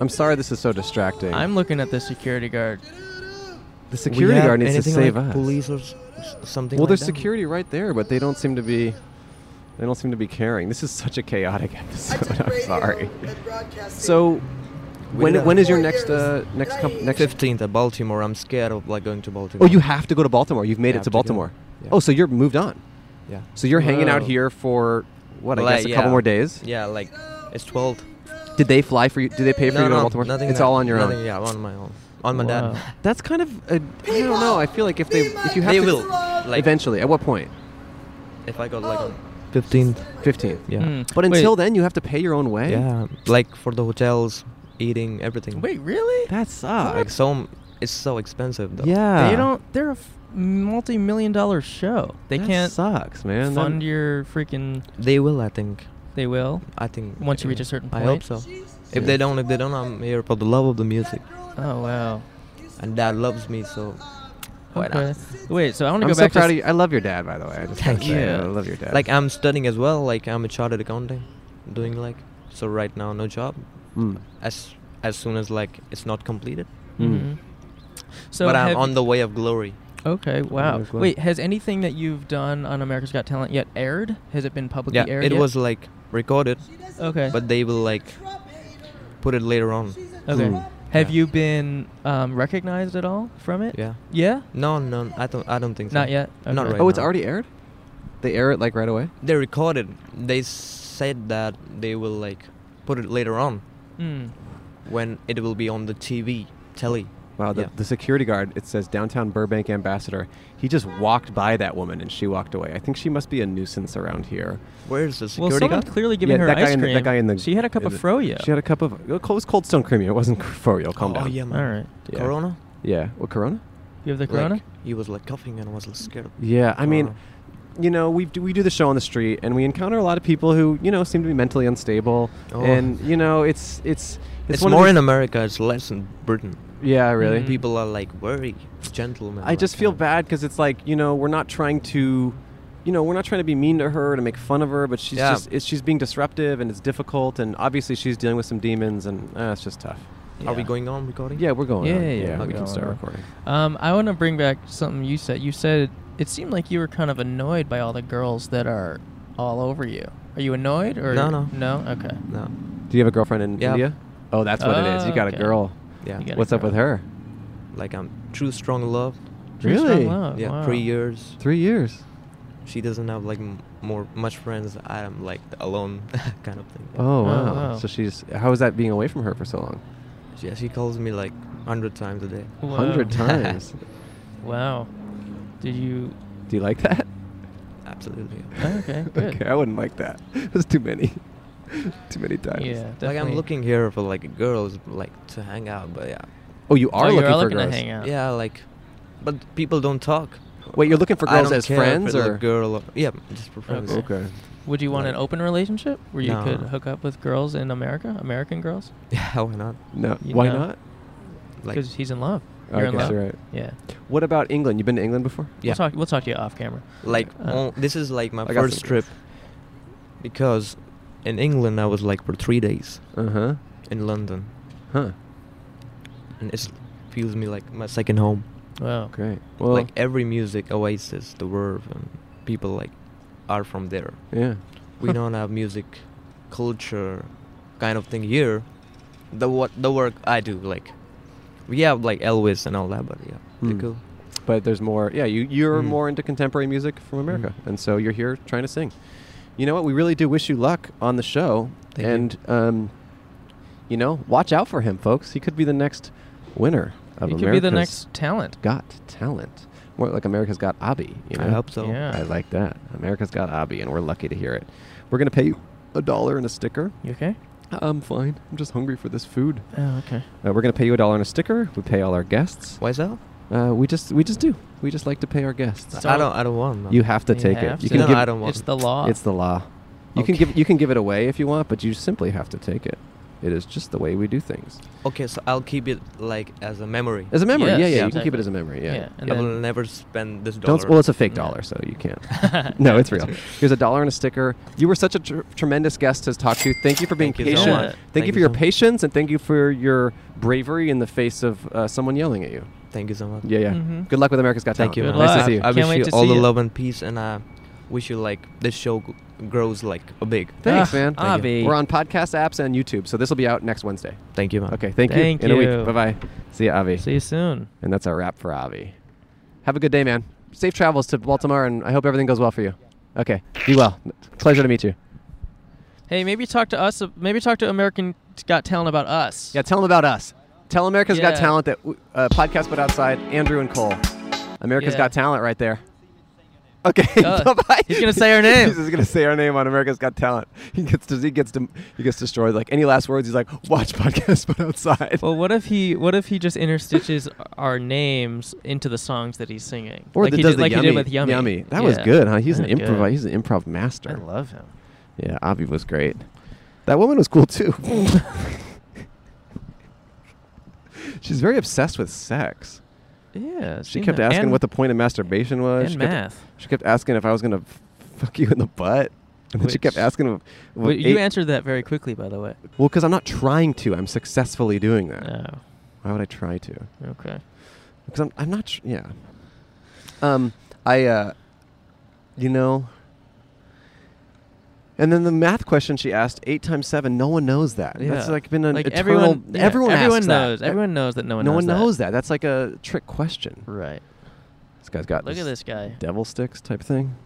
I'm sorry this is so distracting.
I'm looking at the security guard.
the security guard needs to save us.
Police or s- s- something.
Well,
like
there's
that.
security right there, but they don't seem to be. They don't seem to be caring. This is such a chaotic
I
episode.
took
I'm
radio
sorry.
and broadcasting.
So, when
did
when
that.
is your
Four
next uh,
years.
next
And
comp-
I-
next
15th at Baltimore. I'm scared of like going to Baltimore.
Oh, you have to go to Baltimore. You've made
I
it to
have to go.
Baltimore.
Yeah.
Oh, so you're moved on.
Yeah.
So you're hanging out
Whoa.
here for what? I
Like,
guess a
yeah.
couple more days.
Yeah, like it's 12th.
Did they fly for you? Did they pay for
no,
you to go
no,
to Baltimore?
nothing.
it's
that-
all on your
nothing,
own.
Yeah, on my own. On my
Wow.
dad.
That's kind of. A, I don't know. I feel like if they if you have
They
to
will. Like
eventually. At what point?
if I got like on 15th,
Fifteenth.
Oh. yeah,
Mm.
But
Wait.
until then, you have to pay your own way.
yeah, like for the hotels, eating, everything.
Wait, really?
That
like
sucks.
so it's so expensive though.
Yeah.
They don't. They're a f- multi-million dollar show. They
that
can't
Sucks, man. That-
fund your freaking.
they will. I think.
They will.
I think
Once you
yeah.
reach a certain
I hope
point.
so.
Yeah.
If they don't, if they don't, I'm here for the love of the music,
Oh wow.
and Dad loves me so. Why not?
Okay. Wait. So I want to
I'm
go
so
back
proud
to.
of you. I love your dad, by the way. I just
Thank
gotta say,
you.
I love your dad.
Like I'm studying as well. Like I'm a chartered accountant, doing like so right now no job.
Mm.
As as soon as like it's not completed,
Mm.
Mhm. So
but I'm
have
on the way of glory.
Okay. Wow.
as well.
Wait. Has anything that you've done on America's Got Talent yet aired? Has it been publicly
Yeah,
aired?
it
yet?
was like recorded,
Okay.
but they will like put it later on.
okay.
Mm.
Have
Hmm. Yeah.
you been um, recognized at all from it?
Yeah.
Yeah.
No, no, I don't. I don't think so.
Not yet?
Not
Okay.
right.
oh, it's
now.
already aired. They air it like right away.
They recorded. They said that they will like put it later on
Mm.
when it will be on the TV, telly.
Wow, the,
Yeah.
the security guard, it says downtown Burbank ambassador. He just walked by that woman and she walked away. I think she must be a nuisance around here.
Where is the
Well,
security
someone
guard?
clearly giving her
that guy
ice
in
cream.
the, that guy in the.
she had a cup
in
of
the-
froyo.
She had a cup of. It was cold stone creamery. It wasn't froyo. Calm
oh,
down.
yeah,
all
man.
right.
Yeah.
Corona.
Yeah. What Corona?
You have the Corona.
Like, he was like coughing and I was like, scared.
Yeah. I mean,
Corona.
you know, we do, we do the show on the street, and we encounter a lot of people who you know seem to be mentally unstable,
Oh.
and you know, it's it's
it's,
one of
more
these-
in America. Mm-hmm. It's less in Britain.
Yeah, really.
Mm.
People are like very gentlemen. um,
I just feel bad because it's like you know we're not trying to, you know we're not trying to be mean to her to make fun of her, but she's
Yeah.
just it's, she's being disruptive and it's difficult and obviously she's dealing with some demons and uh, it's just tough.
Are we
Yeah.
going on recording?
Yeah, we're going.
Yeah,
on.
yeah, yeah,
we
we're
can
going
start
on.
recording.
Um, I want to bring back something you said. You said it seemed like you were kind of annoyed by all the girls that are all over you. Are you annoyed or
No, no.
no? Okay.
No.
Do you have a girlfriend in
Yeah.
India? Oh, that's what it is. You
Oh,
got a
okay.
girl.
Yeah.
You got a
What's up
girl.
with her?
Like I'm true strong love.
True strong
Really?
love,
yeah.
Oh, wow.
Three years.
Three years.
She doesn't have like m- more much friends. I'm like alone kind of thing.
Oh
Oh,
wow.
wow.
So she's how is that being away from her for so long?
Yeah, she calls me like hundred times a day.
Wow.
Hundred times.
Wow. Did you?
Do you like that?
Absolutely.
Okay. Good.
okay, I wouldn't like that. That's too many. too many times.
Yeah. Definitely.
Like I'm looking here for like girls like to hang out, but yeah,
Oh, you are
Oh,
looking
you're
for
looking
girls.
to hang out.
yeah, like, but people don't talk.
Wait, you're looking for
I
girls
don't
as
care if
friends
it's a
or
girl? Or, yeah, just for friends.
Okay. Would you want an
Like-
open relationship where you
No.
could hook up with girls in America, American girls?
Yeah, why not?
No,
You
why
know.
not?
Like,
Because he's in love.
Oh,
You're
I
in
guess
love.
you're right.
Yeah.
What about England? You've been to England before?
yeah,
We'll talk. We'll talk to you off camera.
like
Uh,
on- this is like my
I got
first
some
trip
girls.
because in England I was like for three days
Uh huh.
in London,
Huh.
and it feels me like my second home.
Wow.
Great. Well,
like every music, Oasis, The Verve, and people like are from there.
yeah.
we don't have music culture kind of thing here the what the work i do like we have like elvis and all that but yeah they're
Hmm.
cool
But there's more. Yeah, you you're
Mm.
more into contemporary music from America,
Mm.
and so you're here trying to sing. You know what? We really do wish you luck on the show,
Thank you.
and um, you know, watch out for him, folks. He could be the next winner
You
of
could
America's
be the next talent.
Got Talent. More like America's Got Abby. You know?
i hope so
Yeah.
I like that. America's Got Abby, and we're lucky to hear it. We're gonna pay you a dollar and a sticker.
You okay?
I'm fine. I'm just hungry for this food.
Oh, okay.
Uh, we're gonna pay you a dollar and a sticker. We pay all our guests.
why so
Uh, we just we just do. We just like to pay our guests.
So-
i don't i don't want no.
You have to
You
take
have
it. You
to.
can
no,
give.
i don't want
It's the law.
It's the law. You can
Okay.
give you can give it away if you want, but you simply have to take it. It is just the way we do things.
okay so i'll keep it like as a memory
As a memory,
Yes,
yeah, yeah.
yeah,
You can keep it
exactly.
as a memory, yeah.
Yeah, and
i
then-
will never spend this dollar
Don't. Well, it's a fake
No.
dollar, so you can't. no, it's real. Here's a dollar and a sticker. You were such a tr- tremendous guest to talk to. Thank you for being
Thank you
patient.
so
much.
thank,
Thank
you
you
for your
so much.
patience, and thank you for your bravery in the face of uh, someone yelling at you.
thank you so much
Yeah, yeah.
Mhm.
Good luck with America's Got
thank you
Talent.
Good
man.
Nice
luck.
to see you.
i, I
Can't
wish
wait
you
to
all
see
the
you.
love and peace and i wish you like this show g- grows like a big
Thanks,
Ah,
man.
Thank you. Avi.
We're on podcast apps and YouTube, so this will be out next Wednesday.
Ah, thank you man
Okay, thank,
Thank
you. In a
you.
week. Bye bye. See you, Avi.
See you soon.
And that's our wrap for Avi. Have a good day, man. Safe travels to Baltimore, and I hope everything goes well for you. Okay, be well. Pleasure to meet you.
Hey, maybe talk to us. Maybe talk to American Got Talent about us.
Yeah, tell them about us. Tell America's Got
Yeah.
Talent that uh, podcast put outside. Andrew and Cole. America's
Yeah.
Got Talent right there. Okay,
Duh.
bye bye.
He's gonna say our name.
he's just gonna say our name on America's Got Talent. He gets to, he gets to, he gets destroyed. Like any last words, he's like, "Watch podcast put outside."
Well, what if he what if he just interstitches our names into the songs that he's singing,
or
like
that
he
does
did,
the
like
yummy,
he did with Yummy?
That was
Yeah.
good, huh? He's an
That was good.
improv. He's an improv master.
I love him.
Yeah, Avi was great. That woman was cool too. She's very obsessed with sex.
Yeah, I've
She
seen
kept
that.
asking
And-
what the point of masturbation was.
and
she,
math.
Kept, she kept asking if I was gonna f- fuck you in the butt. And then she kept
Which-
asking. if-
Well,
what
you
eight-
answered that very quickly, by the way.
Well, because I'm not trying to. I'm successfully doing that.
No.
Why would I try to?
Oh, Okay.
Because I'm, I'm not. Tr- yeah. Um, I, uh, you know. And then the math question she asked, eight times seven. No one knows that. That's
Yeah.
like been an
like
eternal.
everyone. yeah,
everyone, asks
everyone
that.
knows.
That-
Everyone knows that no one.
no
knows
one knows that. That's like a trick question.
Right.
This guy's got.
Look at this guy.
Devil sticks type thing.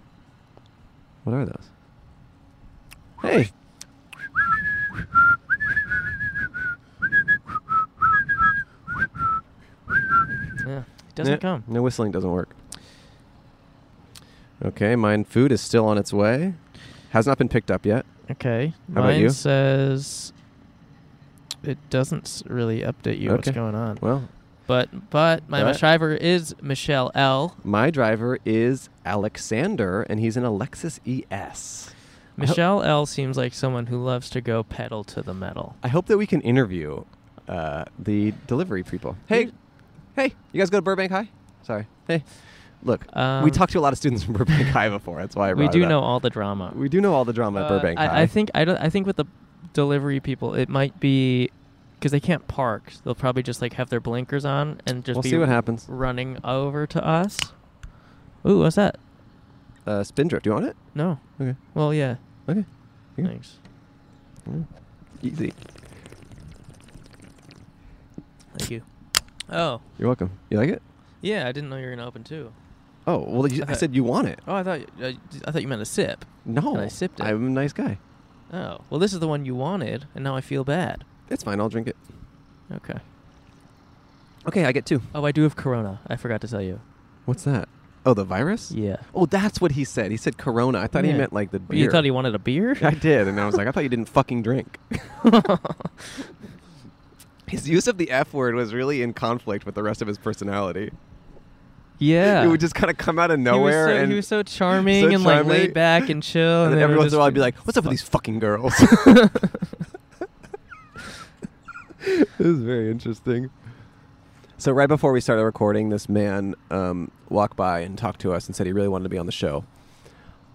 What are those? Hey.
Yeah. It doesn't
Yeah,
come.
No whistling doesn't work. Okay, mine food is still on its way. Has not been picked up yet.
Okay.
How about
Mine
you?
says it doesn't s- really update you what's
Okay.
going on.
Well,
But but my
Alright.
driver is Michelle L.
my driver is Alexander, and he's an Alexis ES.
Michelle L seems like someone who loves to go pedal to the metal.
I hope that we can interview uh, the delivery people. Hey, hey, you guys go to Burbank High? Sorry. Hey, look, we
Um,
talked to a lot of students from Burbank High before. That's why I
We
brought
do
it
know
up.
all the drama.
We do know all the drama at
Uh,
Burbank High.
I, I think I don't. I think with the delivery people, it might be because they can't park. They'll probably just like have their blinkers on and just
we'll
be
see what happens.
running over to us. Ooh, what's that?
Uh, spin drift. You want it?
No.
Okay.
Well, yeah.
Okay. Yeah.
Thanks.
Easy.
Thank you. Oh,
You're welcome. You like it?
yeah. I didn't know you were gonna open too.
Oh well, you, I
Okay.
said you want it.
Oh, I thought y- I, I thought you meant a sip.
No,
And I sipped it.
I'm a nice guy.
Oh, well, this is the one you wanted, and now I feel bad.
It's fine. I'll drink it.
Okay.
Okay, I get two.
Oh, I do have Corona. I forgot to tell you.
What's that? Oh, the virus.
Yeah.
Oh, that's what he said. He said Corona. I thought he
Yeah.
meant like the
Well,
beer.
You thought he wanted a beer?
I did, and I was like, I thought you didn't fucking drink. His use of the F word was really in conflict with the rest of his personality.
yeah.
It would just kind of come out of
He was
nowhere,
so-
and
he was so charming
so
and like
charming.
laid back and chill.
and then every
we're
once
just
in a while, I'd be like, "What's up with these fucking girls?" this is very interesting. So right before we started recording, this man um, walked by and talked to us and said he really wanted to be on the show.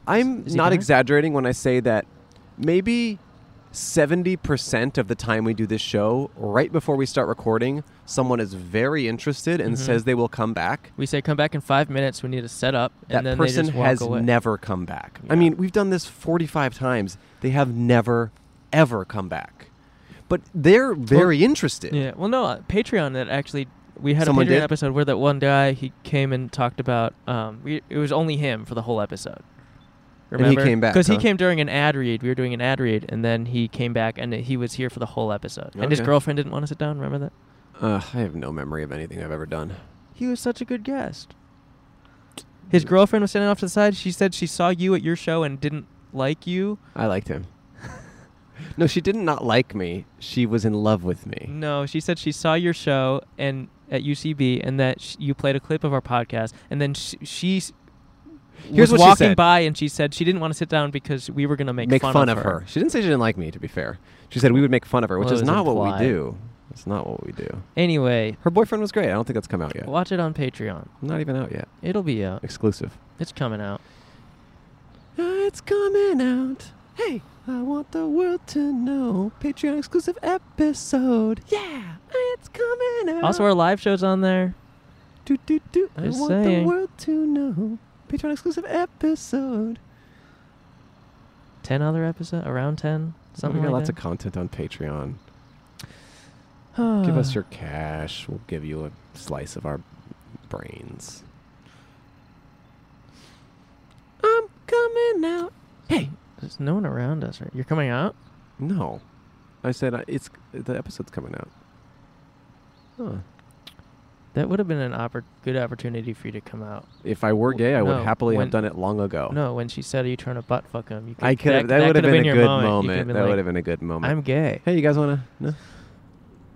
I'm
is he
not
gonna?
exaggerating when I say that maybe 70% of the time we do this show, right before we start recording, someone is very interested
Mm-hmm.
and says they will come back.
We say, come back in five minutes. We need to set up.
That
and then
person
they just walk
has
away.
never come back. I
Yeah.
mean, we've done this 45 times. They have never, ever come back. But they're very interested.
Yeah. Well, no, uh, Patreon. That actually, we had
Someone
a Patreon
did?
episode where that one guy he came and talked about. Um, we it was only him for the whole episode.
he
Remember?
came back,
because
huh?
he came during an ad read. We were doing an ad read, and then he came back, and he was here for the whole episode. And his
Okay.
girlfriend didn't want to sit down. Remember that?
Ugh, I have no memory of anything I've ever done.
He was such a good guest. His girlfriend was standing off to the side. She said she saw you at your show and didn't like you.
I liked him. no, she didn't not like me. She was in love with me.
No, she said she saw your show and at UCB, and that sh- you played a clip of our podcast, and then sh- she s-
Here's
was
what she
walking
said.
by, and she said she didn't want to sit down because we were gonna make,
fun, of, her. She didn't say she didn't like me, to be fair. She said we would make fun of her, which
Well,
is
it was
not what
implied.
we do. It's not what we do.
Anyway,
Her boyfriend was great. I don't think that's come out yet.
watch it on Patreon.
Not even out yet.
It'll be out.
Exclusive.
It's coming out.
It's coming out. Hey, I want the world to know. Patreon exclusive episode. Yeah, it's coming out.
Also, our live show's on there.
do, do, do. I
Just
want
saying.
the world to know. Patreon exclusive episode.
Ten other episodes, around ten, something
we got
like
lots
that.
of content on Patreon. give us your cash. We'll give you a slice of our brains. I'm coming out. Hey,
There's no one around us, right? You're coming out.
no. I said uh, it's the episode's coming out. Huh.
That would have been an oppor- good opportunity for you to come out.
If I were gay, I would
No,
happily
when-
have done it long ago.
No, when she said, "Are you trying to butt fuck him?" You
Oh. I could have. That, would have
could've
been, a
your
good
You
moment.
could've been
That
like,
would have been a good moment.
I'm gay.
hey, you guys want to? No?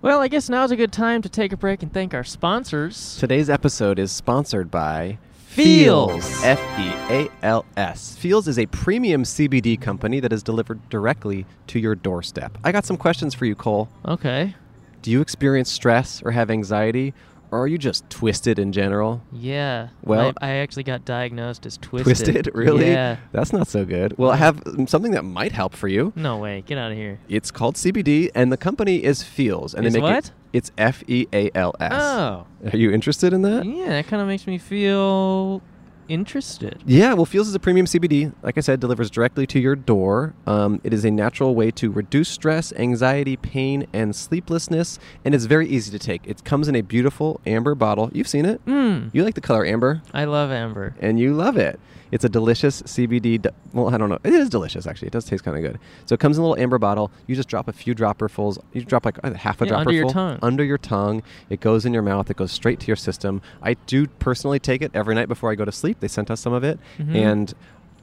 Well, I guess now's a good time to take a break and thank our sponsors.
Today's episode is sponsored by
Feels.
F E A L S. Feels is a premium CBD company that is delivered directly to your doorstep. I got some questions for you, Cole.
Okay.
Do you experience stress or have anxiety, or are you just twisted in general?
Yeah.
Well-
I, I actually got diagnosed as twisted.
Twisted, really?
Yeah.
That's not so good. Well, I have um, something that might help for you.
No way. Get out of here.
It's called CBD, and the company is Feels, and
Is
they make
what?
it. It's F E A L S.
Oh.
Are you interested in that?
Yeah, that kind of makes me feel interested.
Yeah, well, Feels is a premium CBD. Like I said, delivers directly to your door. Um, it is a natural way to reduce stress, anxiety, pain, and sleeplessness, and it's very easy to take. It comes in a beautiful amber bottle. You've seen it.
Mm.
You like the color amber,
I love Amber.
and you love it. It's a delicious CBD. d- Well, I don't know. It is delicious, actually. It does taste kind of good. So it comes in a little amber bottle. You just drop a few dropperfuls. You drop like uh, half a
Yeah,
dropperful
under your tongue.
under your tongue. It goes in your mouth. It goes straight to your system. I do personally take it every night before I go to sleep. They sent us some of it,
Mhm.
and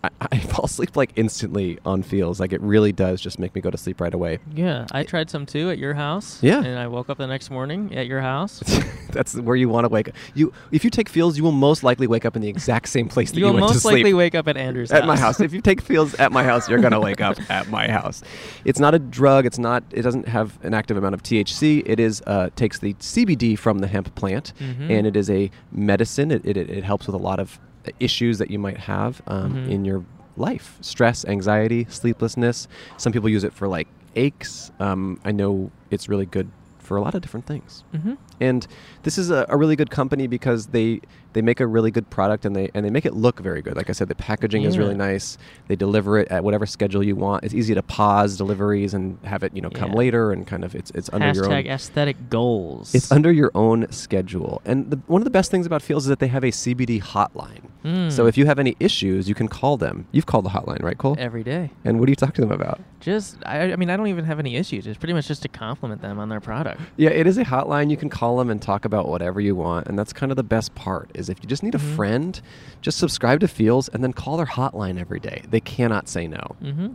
I, I fall asleep like instantly on feels. Like it really does just make me go to sleep right away.
Yeah, I tried some too at your house.
Yeah.
And I woke up the next morning at your house.
That's where you want to wake up. You, if you take feels, you will most likely wake up in the exact same place that you,
You'll
went to
most
sleep.
likely wake up at Andrew's
at my house. If you take fields at my house, you're gonna wake up at my house. It's not a drug. It's not. It doesn't have an active amount of THC. It is uh, takes the CBD from the hemp plant,
Mhm.
and it is a medicine. It, it it helps with a lot of uh, issues that you might have um,
Mhm.
in your life: stress, anxiety, sleeplessness. Some people use it for like aches. Um, I know it's really good for a lot of different things
hmm
and this is a, a really good company because they they make a really good product and they and they make it look very good like i said the packaging is
Yeah.
really nice they deliver it at whatever schedule you want it's easy to pause deliveries and have it you know come
Yeah.
later and kind of it's it's under your
Hashtag
own
aesthetic goals.
it's under your own schedule and the, one of the best things about feels is that they have a cbd hotline
Mm.
so if you have any issues you can call them you've called the hotline right cole
every day.
and what do you talk to them about
Just, I, I mean, I don't even have any issues. It's pretty much just to compliment them on their product.
Yeah, it is a hotline. You can call them and talk about whatever you want, and that's kind of the best part. Is if you just need a
Mhm.
friend, just subscribe to Feels and then call their hotline every day. They cannot say no.
Mm-hmm.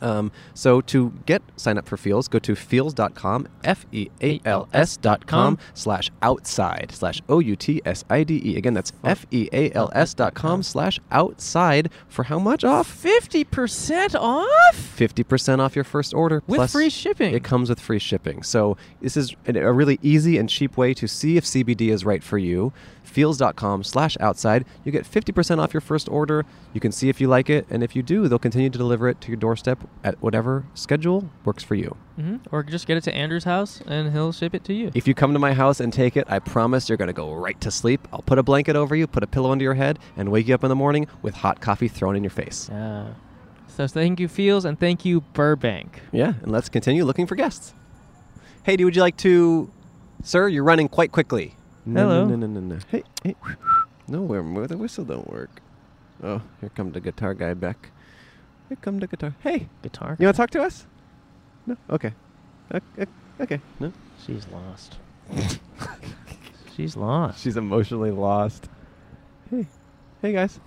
Um, so to get sign up for Feels, go to feels.com, f e a l s dot com
E
slash outside slash o u t s i d e. Again,
Oh.
that's f e a l s dot com slash outside for how much off?
Fifty percent off
Fifty percent off your first order
with
plus
free shipping.
it comes with free shipping. So this is an- a really easy and cheap way to see if CBD is right for you. Feels.com slash outside. You get 50% off your first order. You can see if you like it. And if you do, they'll continue to deliver it to your doorstep at whatever schedule works for you.
hmm Or just get it to Andrew's house and he'll ship it to you.
If you come to my house and take it, I promise you're going to go right to sleep. I'll put a blanket over you, put a pillow under your head, and wake you up in the morning with hot coffee thrown in your face.
Yeah. So thank you, Fields, and thank you, Burbank.
Yeah, and let's continue looking for guests. Haiti, would you like to, sir? You're running quite quickly.
Hello.
No, no, no, no, no. Hey, hey. No, where- where the whistle don't work. Oh, here come the guitar guy back. Here come the guitar. Hey,
Guitar.
you want to talk to us? No. Okay. Okay. okay. No.
She's lost. She's lost.
She's emotionally lost. Hey, hey guys.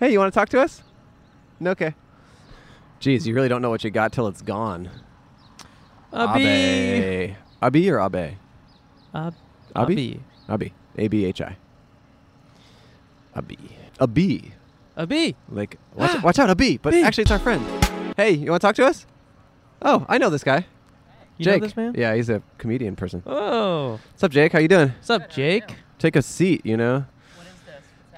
Hey, you want to talk to us? No, okay. Jeez, you really don't know what you got till it's gone.
Abi.
Abe. Abi or Abe?
Ab-
Abi?
Abi.
Abi. A B H I. A B. A B.
Abi.
Like, watch, watch out, a B. But
Bee.
actually, it's our friend. Hey, you want to talk to us? Oh, I know this guy.
You
Jake.
know this man?
Yeah, he's a comedian person.
Oh.
What's up, Jake? How you doing?
What's up, Jake?
Take a seat, you know?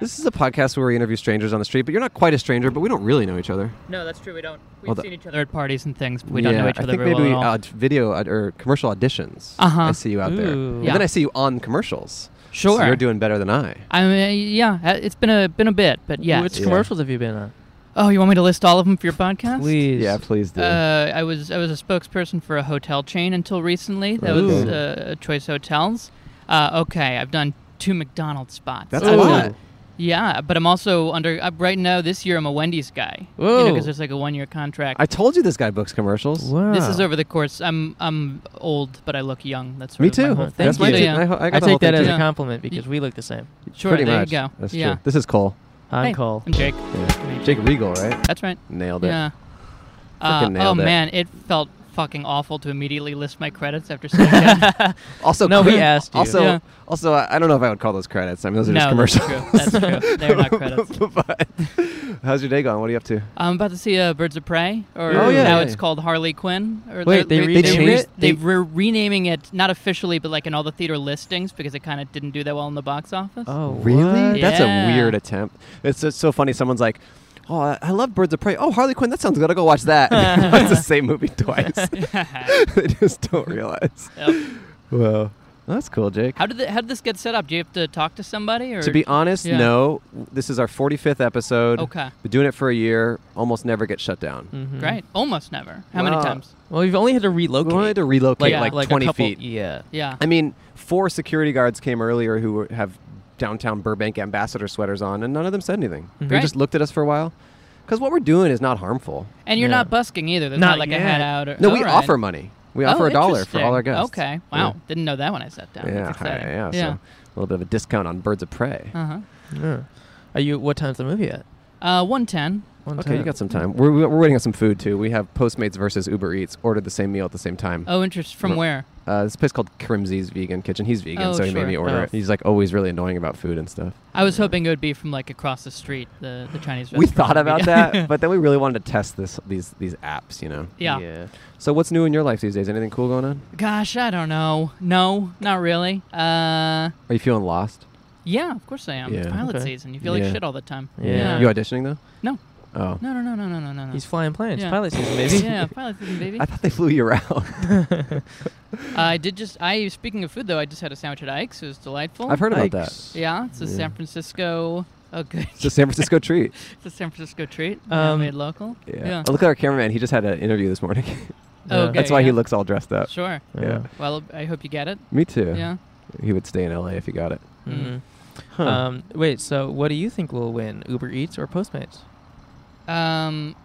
This is a podcast where we interview strangers on the street, but you're not quite a stranger, but we don't really know each other.
No, that's true. We don't. We've
Well, the-
seen each other at parties and things, but we don't know
Yeah,
each other
I think
very
maybe
well. at all.
uh, video aud- or commercial auditions.
Uh-huh.
I see you out there.
Ooh.
And
Yeah.
then I see you on commercials. So
sure.
you're doing better than I.
I mean, yeah, uh, it's been a been a bit, but yeah.
Which
Yeah.
commercials have you been on?
Oh, you want me to list all of them for your podcast?
Please.
Yeah, please do.
Uh, I was I was a spokesperson for a hotel chain until recently. That was
Ooh.
uh, Choice Hotels. Uh, okay, I've done two McDonald's spots.
That's
a
I've
lot.
done- Yeah, but I'm also under uh, right now. This year, I'm a Wendy's guy.
Whoa.
because there's like a one-year contract.
I told you this guy books commercials.
Wow.
This
Oh.
is over the course. I'm I'm old, but I look young. That's sort
Me
of my
too.
whole
Well,
thing.
Oh, thank
That's my
you.
take-
Yeah.
I, ho- I got
I
the whole
take that
thing
as
too.
a
Yeah.
compliment because we look the same.
Sure,
Pretty
there
much.
you go.
That's
yeah.
true. This is Cole.
I'm
Hey,
Cole.
I'm Jake.
Yeah. Jake Regal, right?
That's right.
Nailed it.
Yeah. Uh,
Frickin'
oh
nailed it.
man, it felt fucking awful to immediately list my credits after saying that.
Also,
No, we
credit-
asked you.
Also,
Yeah.
also, I I don't know if I would call those credits. I mean, those are just
No, that's
commercials.
true. That's true. They're not credits.
but how's your day going? What are you up to?
I'm about to see uh, Birds of Prey, or
Oh, yeah,
now
yeah,
it's
yeah.
called Harley Quinn. Or
Wait, they
they're-
renamed
they're-
it?
They're,
They-
they're renaming it, not officially, but like in all the theater listings because it kind of didn't do that well in the box office.
Oh,
Really?
what?
That's a
Yeah.
weird attempt. It's just so funny. Someone's like, "Oh, I- I love Birds of Prey. Oh, Harley Quinn. That sounds good. I'll go watch that." it's the same movie twice. they just don't realize.
Yep.
Well, that's cool, Jake.
How did the, how did this get set up? Do you have to talk to somebody, or
To be honest,
Yeah.
no. This is our 45th episode.
Okay. Mm-hmm.
Been doing it for a year. Almost never get shut down.
Mhm.
great? Almost never. How
Wow.
many times?
Well, we've only had to relocate.
We wanted to relocate
Yeah.
like,
a
20
couple-
feet.
Yeah.
Yeah.
I mean, four security guards came earlier who were- have downtown Burbank ambassador sweaters on, and none of them said anything. They
Great.
just looked at us for a while. Because what we're doing is not harmful.
and you're
Yeah.
not busking either. There's
Not
not, like a hat
yet.
out. Or,
No, we
Alright.
offer money. We
Oh,
offer a dollar for all our
interesting.
guests.
Okay. Wow. Didn't know that when I sat down.
Yeah. Yeah,
That's
hi-
exciting.
yeah, So a little bit of a discount on Birds of Prey.
Uh-huh.
Yeah. Are you? What time's the movie at?
Uh, 110.
One
Okay, you
time.
got some time. We're, we're waiting on some food too. We have Postmates versus Uber Eats. Ordered the same meal at the same time.
Oh, interest from
Ro-
where?
Uh, this place called Krimzi's Vegan Kitchen. He's vegan,
Oh,
so he made
sure.
me order
Oh.
it. He's like always really annoying about food and stuff.
I was hoping it would be from like across the street, the, the Chinese restaurant.
we thought about
Yeah.
that, but then we really wanted to test this these these apps, you know.
yeah.
So what's new in your life these days? Anything cool going on?
Gosh, I don't know. No, not really. Uh,
Are you feeling lost?
yeah, of course I am. It's
Yeah.
pilot
Okay.
season. You feel
Yeah.
like shit all the time.
Yeah.
You auditioning though?
No.
Oh.
No, no, no, no, no, no, no, no.
He's flying planes.
Yeah.
Pilot season, maybe.
yeah, pilot season, baby.
I thought they flew you around.
I did just. I speaking of food though, I just had a sandwich at Ike's. It was delightful.
I've heard about
Yikes.
that.
Yeah, it's a San Francisco. Oh, good.
It's a San Francisco treat.
it's a San Francisco treat.
Um,
made local.
Yeah. Oh, look at our cameraman. He just had an interview this morning.
Oh,
Yeah.
okay,
That's why he
yeah.
looks all dressed up.
Sure.
Yeah.
Well, I hope you get it.
Me too.
Yeah.
He would stay in LA if he got it.
Mhm.
Uh,
Um, wait. So, what do you think will win, Uber Eats or Postmates?
Um,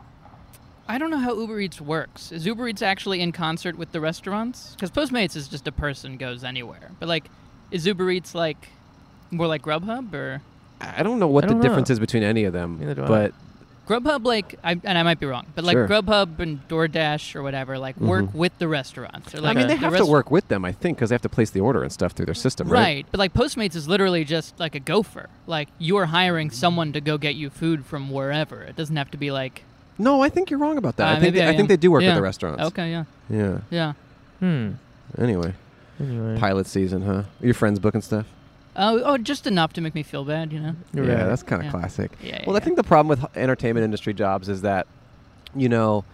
I don't know how Uber Eats works. Is Uber Eats actually in concert with the restaurants? Because Postmates is just a person goes anywhere. But like, is Uber Eats like more like Grubhub or
I don't know what
I
the
don't know.
difference is between any of them,
Neither do I.
but
Grubhub? Like, I, and I might be wrong, but like
Sure. Mm-hmm.
Grubhub and DoorDash or whatever, like work with the restaurants. Or,
I
like,
mean, they
the
have to
rest-
work with them, I think, because they have to place the order and stuff through their system,
Right.
right?
but like Postmates is literally just like a gopher. Like you're hiring someone to go get you food from wherever. It doesn't have to be like.
No, I think you're wrong about that.
uh,
I think
maybe
they, I,
am.
think they do work
Yeah.
with the restaurants.
Okay, yeah,
Yeah.
yeah.
Hmm.
Anyway,
Anyway.
pilot season, huh? Your friends booking stuff.
Oh, oh, just enough to make me feel bad, you know.
You're
yeah,
right.
that's kind of
Yeah.
classic.
Yeah, yeah,
well, I
yeah.
think the problem with h- entertainment industry jobs is that, you know,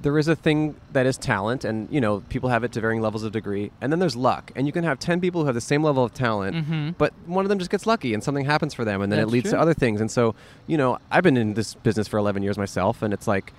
there is a thing that is talent, and you know, people have it to varying levels of degree, and then there's luck, and you can have ten people who have the same level of talent, but one of them just gets lucky, and something happens for them, and then it
Mm-hmm. That's
leads to
true.
other things, and so, you know, I've been in this business for eleven years myself, and it's like.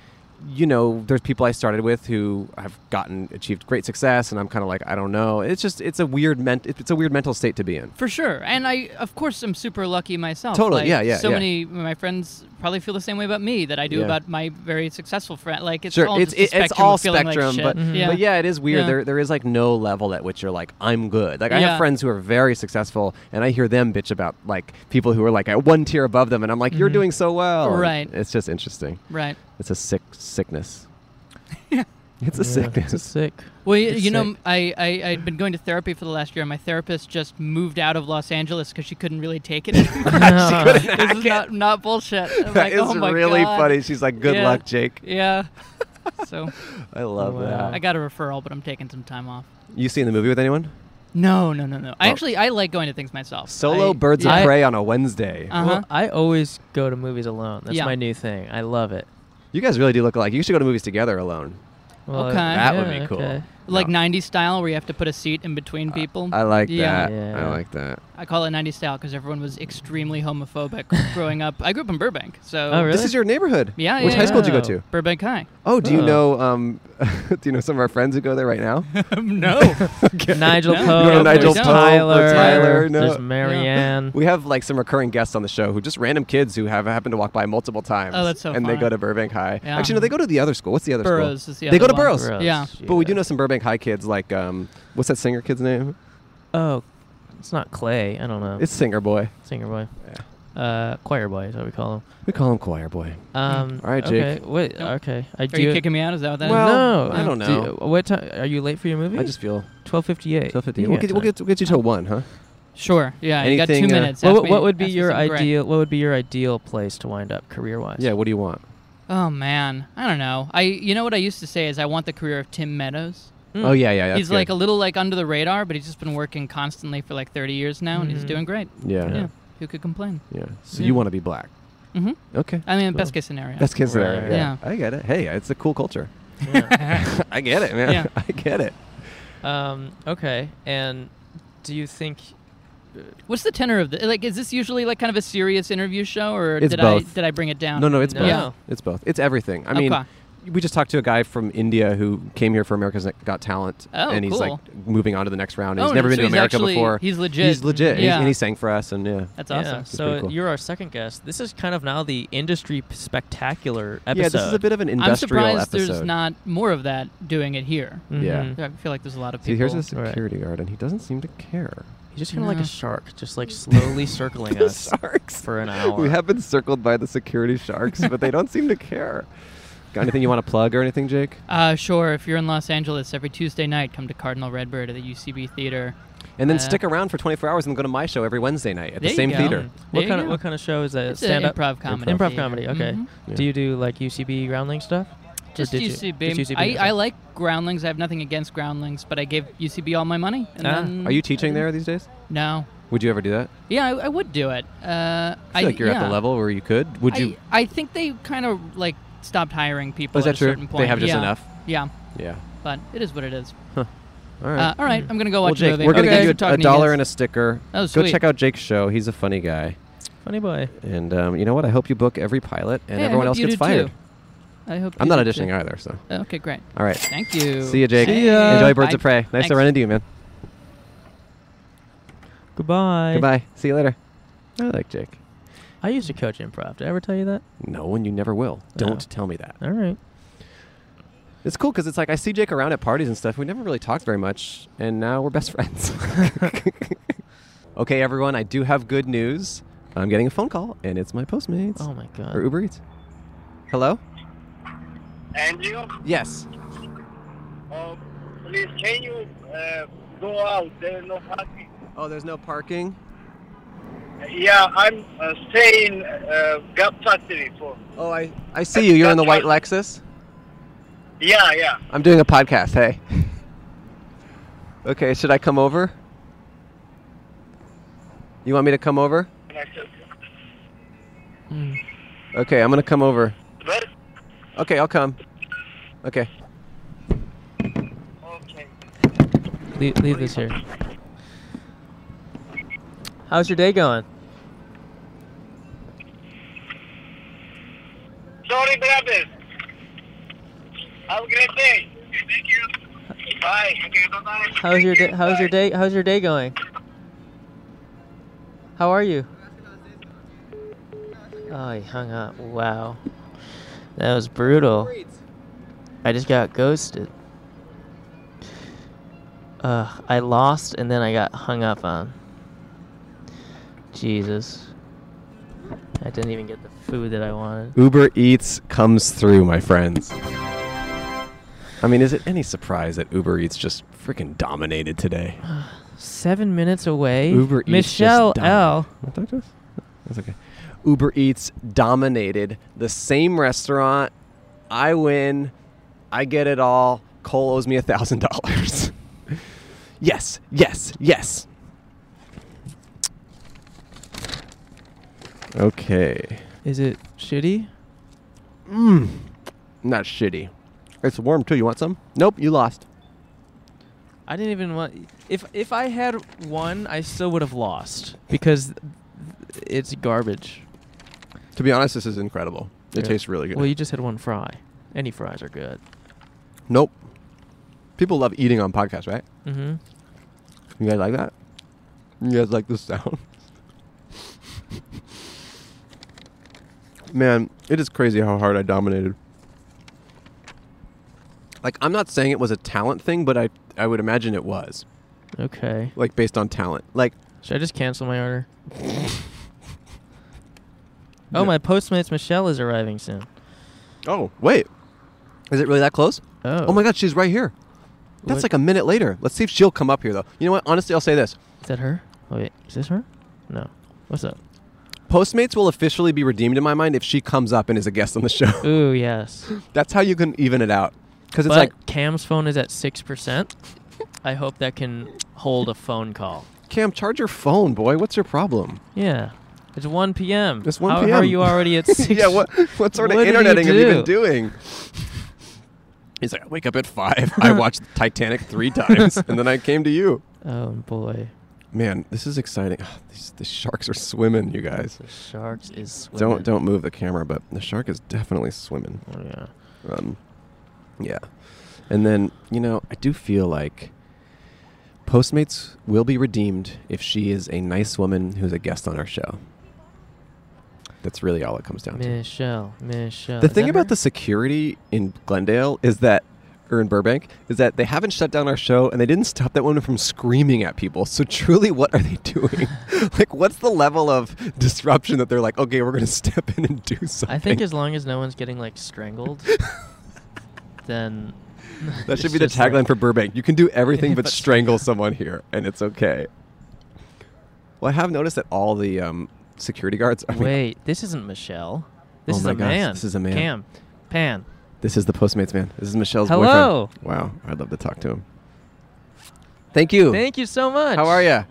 You know, there's people I started with who have gotten achieved great success, and I'm kind of like, I don't know. It's just, it's a weird ment, it's a weird mental state to be in.
For sure. And I, of course, I'm super lucky myself.
Totally,
Like,
yeah, yeah,
So
yeah.
many of my friends probably feel the same way about me that I do
Yeah.
about my very successful friend. Like, it's
sure
all
it's
just a
it- it's
spectrum
all
of feeling like
spectrum
shit. Mm-hmm.
but,
yeah.
but yeah it is weird
Yeah.
there there is like no level at which you're like i'm good like i have
Yeah.
friends who are very successful and i hear them bitch about like people who are like at one tier above them and i'm like you're doing so well And
Mm-hmm. Right.
it's just interesting
Right.
it's a sick sickness it's a sickness
It's sick.
Well, you,
It's
you know,
sick.
I, I, I'd been going to therapy for the last year, and my therapist just moved out of Los Angeles because she couldn't really take it anymore. this is not, not bullshit. I'm
That
like,
is
oh my
really
God.
funny she's like good
Yeah.
luck jake
Yeah. so
i love
Wow.
that
I got a referral, but I'm taking some time off.
you seen the movie with anyone
No, no, no, no. I
Oh.
actually I like going to things myself.
solo
I-
birds
yeah.
of prey on a wednesday
Uh-huh.
Well, I always go to movies alone. That's
Yeah.
my new thing. I love it.
you guys really do look alike you should go to movies together alone
Well,
Okay.
That would
yeah,
be cool.
okay.
Like 90s style, where you have to put a seat in
Uh,
between people.
I like
Yeah.
that.
Yeah.
I like that.
I call it 90s style because everyone was extremely homophobic growing up. I grew up in Burbank, so
Oh, really?
This is your neighborhood.
Yeah,
Which
yeah,
high school did you go
yeah.
to?
Burbank High.
Oh, do you
Uh.
Oh.
know? Um, do you know some of our friends who go there right now?
no,
Nigel
No,
Poe,
no, no,
Nigel
there's
Poe,
Tyler,
or Tyler, no.
there's Marianne.
We have like some recurring guests on the show who just random kids who have happened to walk by multiple times.
Oh, that's so
And they
fun.
go to Burbank High.
Yeah.
Actually, no, they go to the other school. What's the other
Burroughs
school?
is the
they
other
go to
one.
Burroughs.
Gross,
Yeah.
But we do know some Burbank High kids like um, what's that singer kid's name?
Oh, it's not Clay. I don't know.
It's Singer Boy.
singer boy. Uh, choir boy is what we call him.
We call him Choir Boy.
Um,
All right,
Okay.
Jake.
Wait.
Nope.
Okay. I
Are you kicking me out? Is that what that is?
Well,
no,
I don't
Do you-
know.
what time are you late for your movie?
I just feel
twelve fifty eight.
so 50. We'll get, we'll, get, we'll get you till one, huh?
Sure. Yeah. you
Anything,
got
uh,
two minutes.
What,
Ask
would-
me-
what would be
ask me
your
something great.
ideal? What would be your ideal place to wind up career wise?
Yeah. What do you want?
Oh man, I don't know. I you know what I used to say is I want the career of Tim Meadows.
Hmm.
Oh yeah, yeah. That's
Mm-hmm. he's like
good.
a little like under the radar, but he's just been working constantly for like 30 years now, and he's doing great.
yeah, yeah.
Yeah. Who could complain?
So you want to be black?
Mm-hmm.
Okay.
I mean, best case scenario.
That's kids there.
Right.
Yeah. I get it. Hey, it's a cool culture. I get it, man.
Yeah.
I get it.
Um. Okay. And do you think?
What's the tenor of the like? Is this usually like kind of a serious interview show, or
It's
did I
both.
did I bring it down?
No, no, it's
No.
both.
Yeah.
It's both. It's everything. I mean,
Okay.
we just talked to a guy from India who came here for America's Next Got Talent,
Oh,
and he's
cool.
like moving on to the next round. And
Oh,
he's never
so
been to
he's
America
actually-
before.
he's legit.
He's legit. And he's-
Yeah.
and he sang for us, and yeah.
That's
Yeah,
awesome.
So
pretty cool.
you're our second guest. This is kind of now the industry p- spectacular episode.
Yeah, this is a bit of an
I'm
industrial
surprised
episode.
there's not more of that doing it here.
Yeah.
Mhm.
I feel like there's a lot of people.
See, here's a
All right.
security guard, and he doesn't seem to care.
He's just kind of like
No.
a shark, just like slowly circling
The
us
sharks.
for an hour.
We have been circled by the security sharks, but they don't seem to care. Got anything you want to plug or anything, Jake?
Uh, sure. If you're in Los Angeles, every Tuesday night, come to Cardinal Redbird at the UCB Theater.
And then
Uh,
stick around for 24 hours and go to my show every Wednesday night at the
There you
same
go.
theater.
What kind
There you
of
go.
what kind of show is that?
It's
Stand
an
up
improv comedy.
Improv
theater.
comedy. Mm-hmm. Okay.
Mhm.
Yeah.
Do you do like UCB Groundling stuff? Or
Just
did you-
UCB.
just UCB,
I,
okay.
I like Groundlings. I have nothing against Groundlings, but I gave UCB all my money. And
Ah.
then
Are you
I
teaching
didn't-
there these days?
No.
Would you ever do that?
Yeah, I, I would do it. Uh,
I feel like you're at the
yeah.
level where you could. Would you?
I, I think they kind of like stopped hiring people.
Oh, is that
at a
true?
certain
They
point.
have just
Yeah.
enough?
Yeah,
Yeah.
but it is what it is.
All right.
Uh, all right, I'm gonna go
well,
watch a
Jake,
movie.
we're gonna
Okay.
give you a, a
Talking to
dollar
guys.
and a sticker.
Oh,
Go
sweet.
check out Jake's show. He's a funny guy,
Funny boy.
and um, you know what? I hope you book every pilot, and
Hey, I
everyone
hope
else
you
gets
do too.
fired.
I hope.
I'm
you
not
do too.
auditioning either. So,
Okay, great.
all right.
Thank you.
See you, Jake.
See ya.
Enjoy Birds
Bye.
of Prey. Nice to
Thanks.
run into you, man.
Goodbye.
Goodbye. See you later. I like Jake.
I used to coach improv. Did I ever tell you that?
No, and you never will.
No.
Don't tell me that.
All right.
It's cool because it's like I see Jake around at parties and stuff. We never really talked very much, and now we're best friends. okay, everyone, I do have good news. I'm getting a phone call, and it's my Postmates
Oh my god.
or Uber Eats. Hello?
Andrew,
Yes.
um, please can you uh, go out? There is no parking.
Oh, there's no parking.
Yeah, I'm uh, staying uh, Gap Factory for.
Oh, I I see you. You're in the white Lexus.
Yeah, yeah.
I'm doing a podcast. Hey. Okay, should I come over? You want me to come over?
And I said,
Okay, I'm gonna come over.
Well,
Okay, I'll come. Okay.
okay.
leave, leave this here. How's your day going?
Sorry, brother. Have a great day. Thank you. Bye. Okay, bye bye.
How's your day? How's your day? How's your day going? How are you? Oh, he hung up. Wow, that was brutal. I just got ghosted. Ugh, I lost and then I got hung up on. Jesus, I didn't even get the food that I wanted.
Uber Eats comes through, my friends. I mean, is it any surprise that Uber Eats just freaking dominated today?
Seven minutes away.
Uber Eats
Michelle
just domi-
L.
Can I talk to us? No, That's okay. Uber Eats dominated the same restaurant. I win. I get it all. Cole owes me a thousand dollars. Yes, yes, yes. Okay.
Is it shitty?
Not shitty. It's warm too. You want some? Nope, you lost.
I didn't even want. If if I had one, I still would have lost because it's garbage.
To be honest, this is incredible. It
Yeah.
tastes really good.
Well, you just had one fry. Any fries are good.
nope. People love eating on podcasts, right?
Mm-hmm.
You guys like that? You guys like the sound? Man, it is crazy how hard I dominated. Like I'm not saying it was a talent thing, but I I would imagine it was.
Okay.
Like based on talent. Like
Should I just cancel my order? oh, my Postmates Michelle is arriving soon.
oh, wait. Is it really that close?
Oh.
Oh my god, she's right here. That's
What-
like a minute later. Let's see if she'll come up here though. You know what? Honestly, I'll say this.
Is that her? Oh, wait, is this her? No. What's up?
Postmates will officially be redeemed in my mind if she comes up and is a guest on the show.
Ooh, yes.
That's how you can even it out. Because it's
but
like
Cam's phone is at six percent. I hope that can hold a phone call.
Cam, charge your phone, boy. What's your problem?
Yeah. It's 1 p.m.
It's 1
How
p.m.
How are you already at 6?
yeah, what what sort
What
of
did you
interneting have you been
do?
doing? He's like, I wake up at five. I watched Titanic three times, and then I came to you.
Oh, boy.
Man, this is exciting. Ah, These the sharks are swimming, you guys.
Sharks is
Don't don't move the camera, but the shark is definitely swimming.
Oh, yeah.
Um, yeah. And then, you know, I do feel like Postmates will be redeemed if she is a nice woman who's a guest on our show. That's really all it comes down to.
Michelle. Michelle.
The
Is
thing
that
about
her?
the security in Glendale is that, or in Burbank, is that they haven't shut down our show and they didn't stop that woman from screaming at people. So truly, what are they doing? like, what's the level of disruption that they're like, okay, we're going to step in and do something?
I think as long as no one's getting, like, strangled, then.
That should
it's
be the
just like-
tagline for Burbank. You can do everything but
But
strangle someone here, and it's okay. Well, I have noticed that all the um, security guards. I mean,
Wait, this isn't Michelle. This
Oh
is
my
a
gosh,
man.
this is a man.
Cam. Pan.
This is the Postmates man. This is Michelle's
Hello.
boyfriend. Wow, I'd love to talk to him. Thank you.
Thank you so much.
How are you?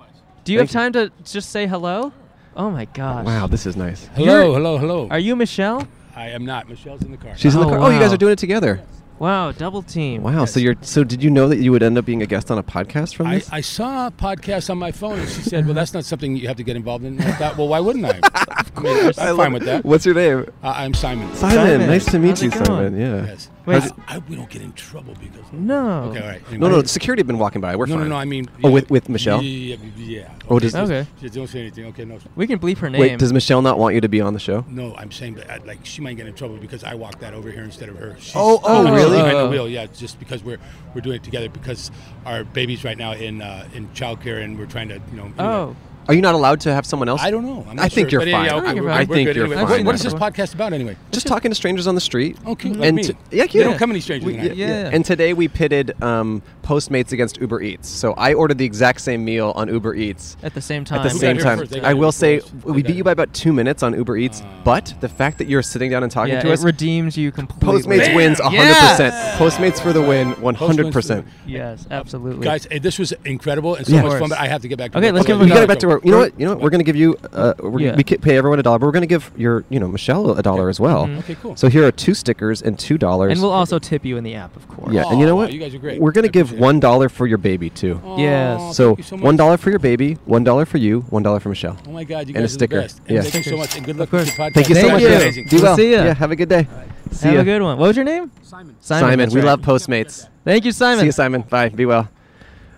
Do you
Thank
have time to just say hello? Oh, my gosh.
Wow, this is nice.
Hello, hello, hello.
Are you Michelle?
I am not. Michelle's in the car.
She's in the
Oh,
car. Oh, you guys
wow.
are doing it together.
Wow, double team.
Wow. So you're. So did you know that you would end up being a guest on a podcast from
I,
this?
I saw a podcast on my phone, and she said, "Well, that's not something you have to get involved in." And I thought, "Well, why wouldn't I?" of course, I'm fine with that.
What's your name?
Uh, I'm Simon.
Simon.
Simon.
Nice to meet
How's
you,
it going?
Simon. Yeah.
Yes.
Wait.
I, I hope we don't get in trouble because.
No.
Okay. All right.
No,
anyway.
no. Security have been walking by. We're
No,
fine.
no, no. I mean.
Oh, with- with Michelle?
Yeah. yeah, yeah.
Oh, does-
Okay.
Just don't say anything. Okay. No.
We can bleep her name.
Wait, does Michelle not want you to be on the show?
No, I'm saying that uh, like she might get in trouble because I walked that over here instead of her. She's-
Oh, oh,
she's
really?
Behind the
Oh.
wheel, yeah. Just because we're we're doing it together because our baby's right now in uh, in childcare and we're trying to you know. anyway.
oh,
Are you not allowed to have someone else?
I don't know. I'm
I
not
think
sure.
you're
But,
fine.
yeah,
I
okay,
think
we're-
I
we're
think
good
you're
anyway.
fine.
What- what is this
Whatever.
podcast about anyway?
Just talking to strangers on the street.
Okay, like
And
Oh, me.
t- yeah,
They
yeah.
don't come any strangers.
We-
tonight.
Yeah.
And today we pitted um, Postmates against Uber Eats. So I ordered the exact same meal on Uber Eats.
at the same time.
At the
Who got
same
here
time,
first? They got
I
here
will say
first. They
we beat
got here. Uh,
you by about two minutes on Uber Eats, but the fact that you're sitting down and talking
yeah,
to
it
us,
redeems you completely.
Postmates wins 100%.
Yes!
Postmates for the win 100%.
Yes, absolutely.
Guys, hey, this was incredible and so
Yeah.
much
Of
fun.
course.
But I have to get back. to
Okay,
work.
let's give
You
him
got
another
to back to work. You know what? You know what? We're gonna give you. Uh, we're,
Yeah.
We ca- pay everyone a dollar, but we're gonna give your. You know, Michelle a dollar as well.
Mm-hmm. Okay, cool.
So here are two stickers and two dollars.
and we'll also tip you in the app, of course.
Yeah, and you know
Aw,
what?
you guys are great.
We're gonna
I
give
appreciate it.
one dollar for your baby too.
Yes.
Aw,
so
thank you so much.
one dollar for your baby, one dollar for you, one dollar for Michelle.
Oh my God, you
and a
guys are the
sticker.
best. And
Yeah.
Thank you so much and good luck
course.
with your podcast.
Thank you so
Thank
much.
you.
guys.
Amazing.
Do
We'll
well.
see ya.
Yeah, have a good day. See
Have
ya.
a good one. What was your name? Simon. Simon.
Simon,
that's
we
right.
love Postmates.
Thank you, Simon.
See you, Simon. Bye. Be well.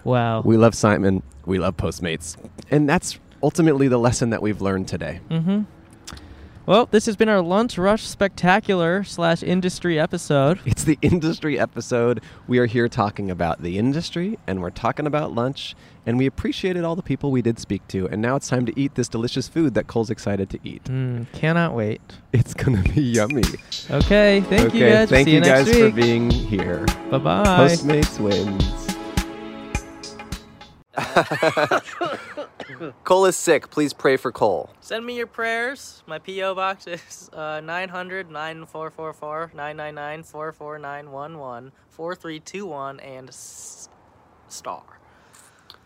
Wow.
We love Simon. We love Postmates, and that's ultimately the lesson that we've learned today.
mm-hmm. Well, this has been our lunch rush spectacular slash industry episode.
It's the industry episode. We are here talking about the industry and we're talking about lunch and we appreciated all the people we did speak to and now it's time to eat this delicious food that Cole's excited to eat.
Mm, cannot wait.
It's going to be yummy.
Okay, thank you
Okay,
guys.
Thank
See
you,
you
guys
next
for
week.
being here.
bye bye.
Postmates wins.
Cole is sick. Please pray for Cole.
Send me your prayers. My P.O. box is uh, 900 9444 999 44911 4321 and s- star.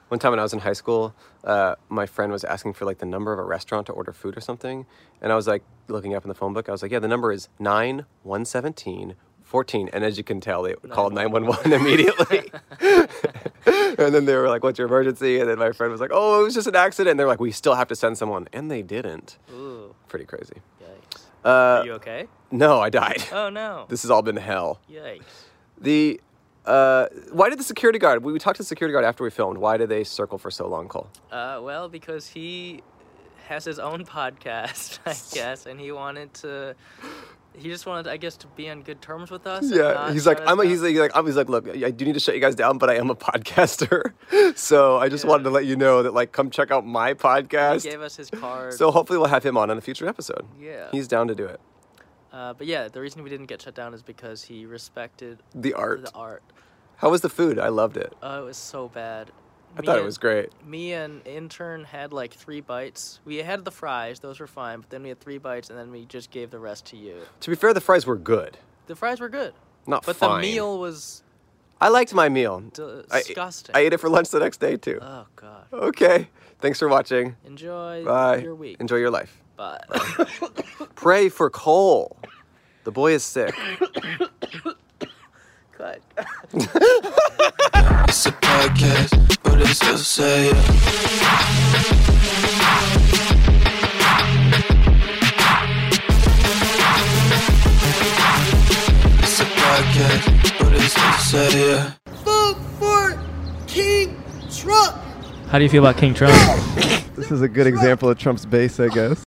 One time when I was in high school, uh, my friend was asking for like the number of a restaurant to order food or something, and I was like looking up in the phone book. I was like, "Yeah, the number is nine one seventeen
14. And as you can tell, they called 911 immediately. and then they were like, What's your emergency? And then my friend was like, Oh, it was just an accident. And they're like, We still have to send someone. And they didn't.
Ooh.
Pretty crazy.
Yikes.
Uh,
Are you okay?
No, I died.
Oh, no.
This has all been hell.
Yikes.
The. Uh, why did the security guard? We, we talked to the security guard after we filmed. Why did they circle for so long, Cole?
Uh, well, because he has his own podcast, I guess, and he wanted to. He just wanted, I guess, to be on good terms with us. and
Yeah,
not
he's like,
shut us
I'm. A,
down.
he's like, he's like, I'm, he's like, look, I do need to shut you guys down, but I am a podcaster, so I just wanted to let you know that, like, come check out my podcast.
He gave us his card.
So hopefully we'll have him on in a future episode.
Yeah.
he's down to do it.
Uh, but yeah, the reason we didn't get shut down is because he respected
The art.
The art.
How was the food? I loved it.
Oh, it was so bad.
I thought it was great.
Me and intern had like three bites. We had the fries; those were fine. But then we had three bites, and then we just gave the rest to you.
To be fair, the fries were good,
The fries were good,
not
but
fine.
the meal was
I liked my meal. I-
disgusting.
I, ate it for lunch the next day too.
Oh god.
Okay. Thanks for watching.
Enjoy
Bye.
your week.
Enjoy your life.
Bye.
Pray for Cole. The boy is sick.
Cut.
It's a podcast, but it's still say it. It's a podcast, but it's still say it.
Vote for King Trump.
How do you feel about King Trump?
This is a good example of Trump's base, I guess.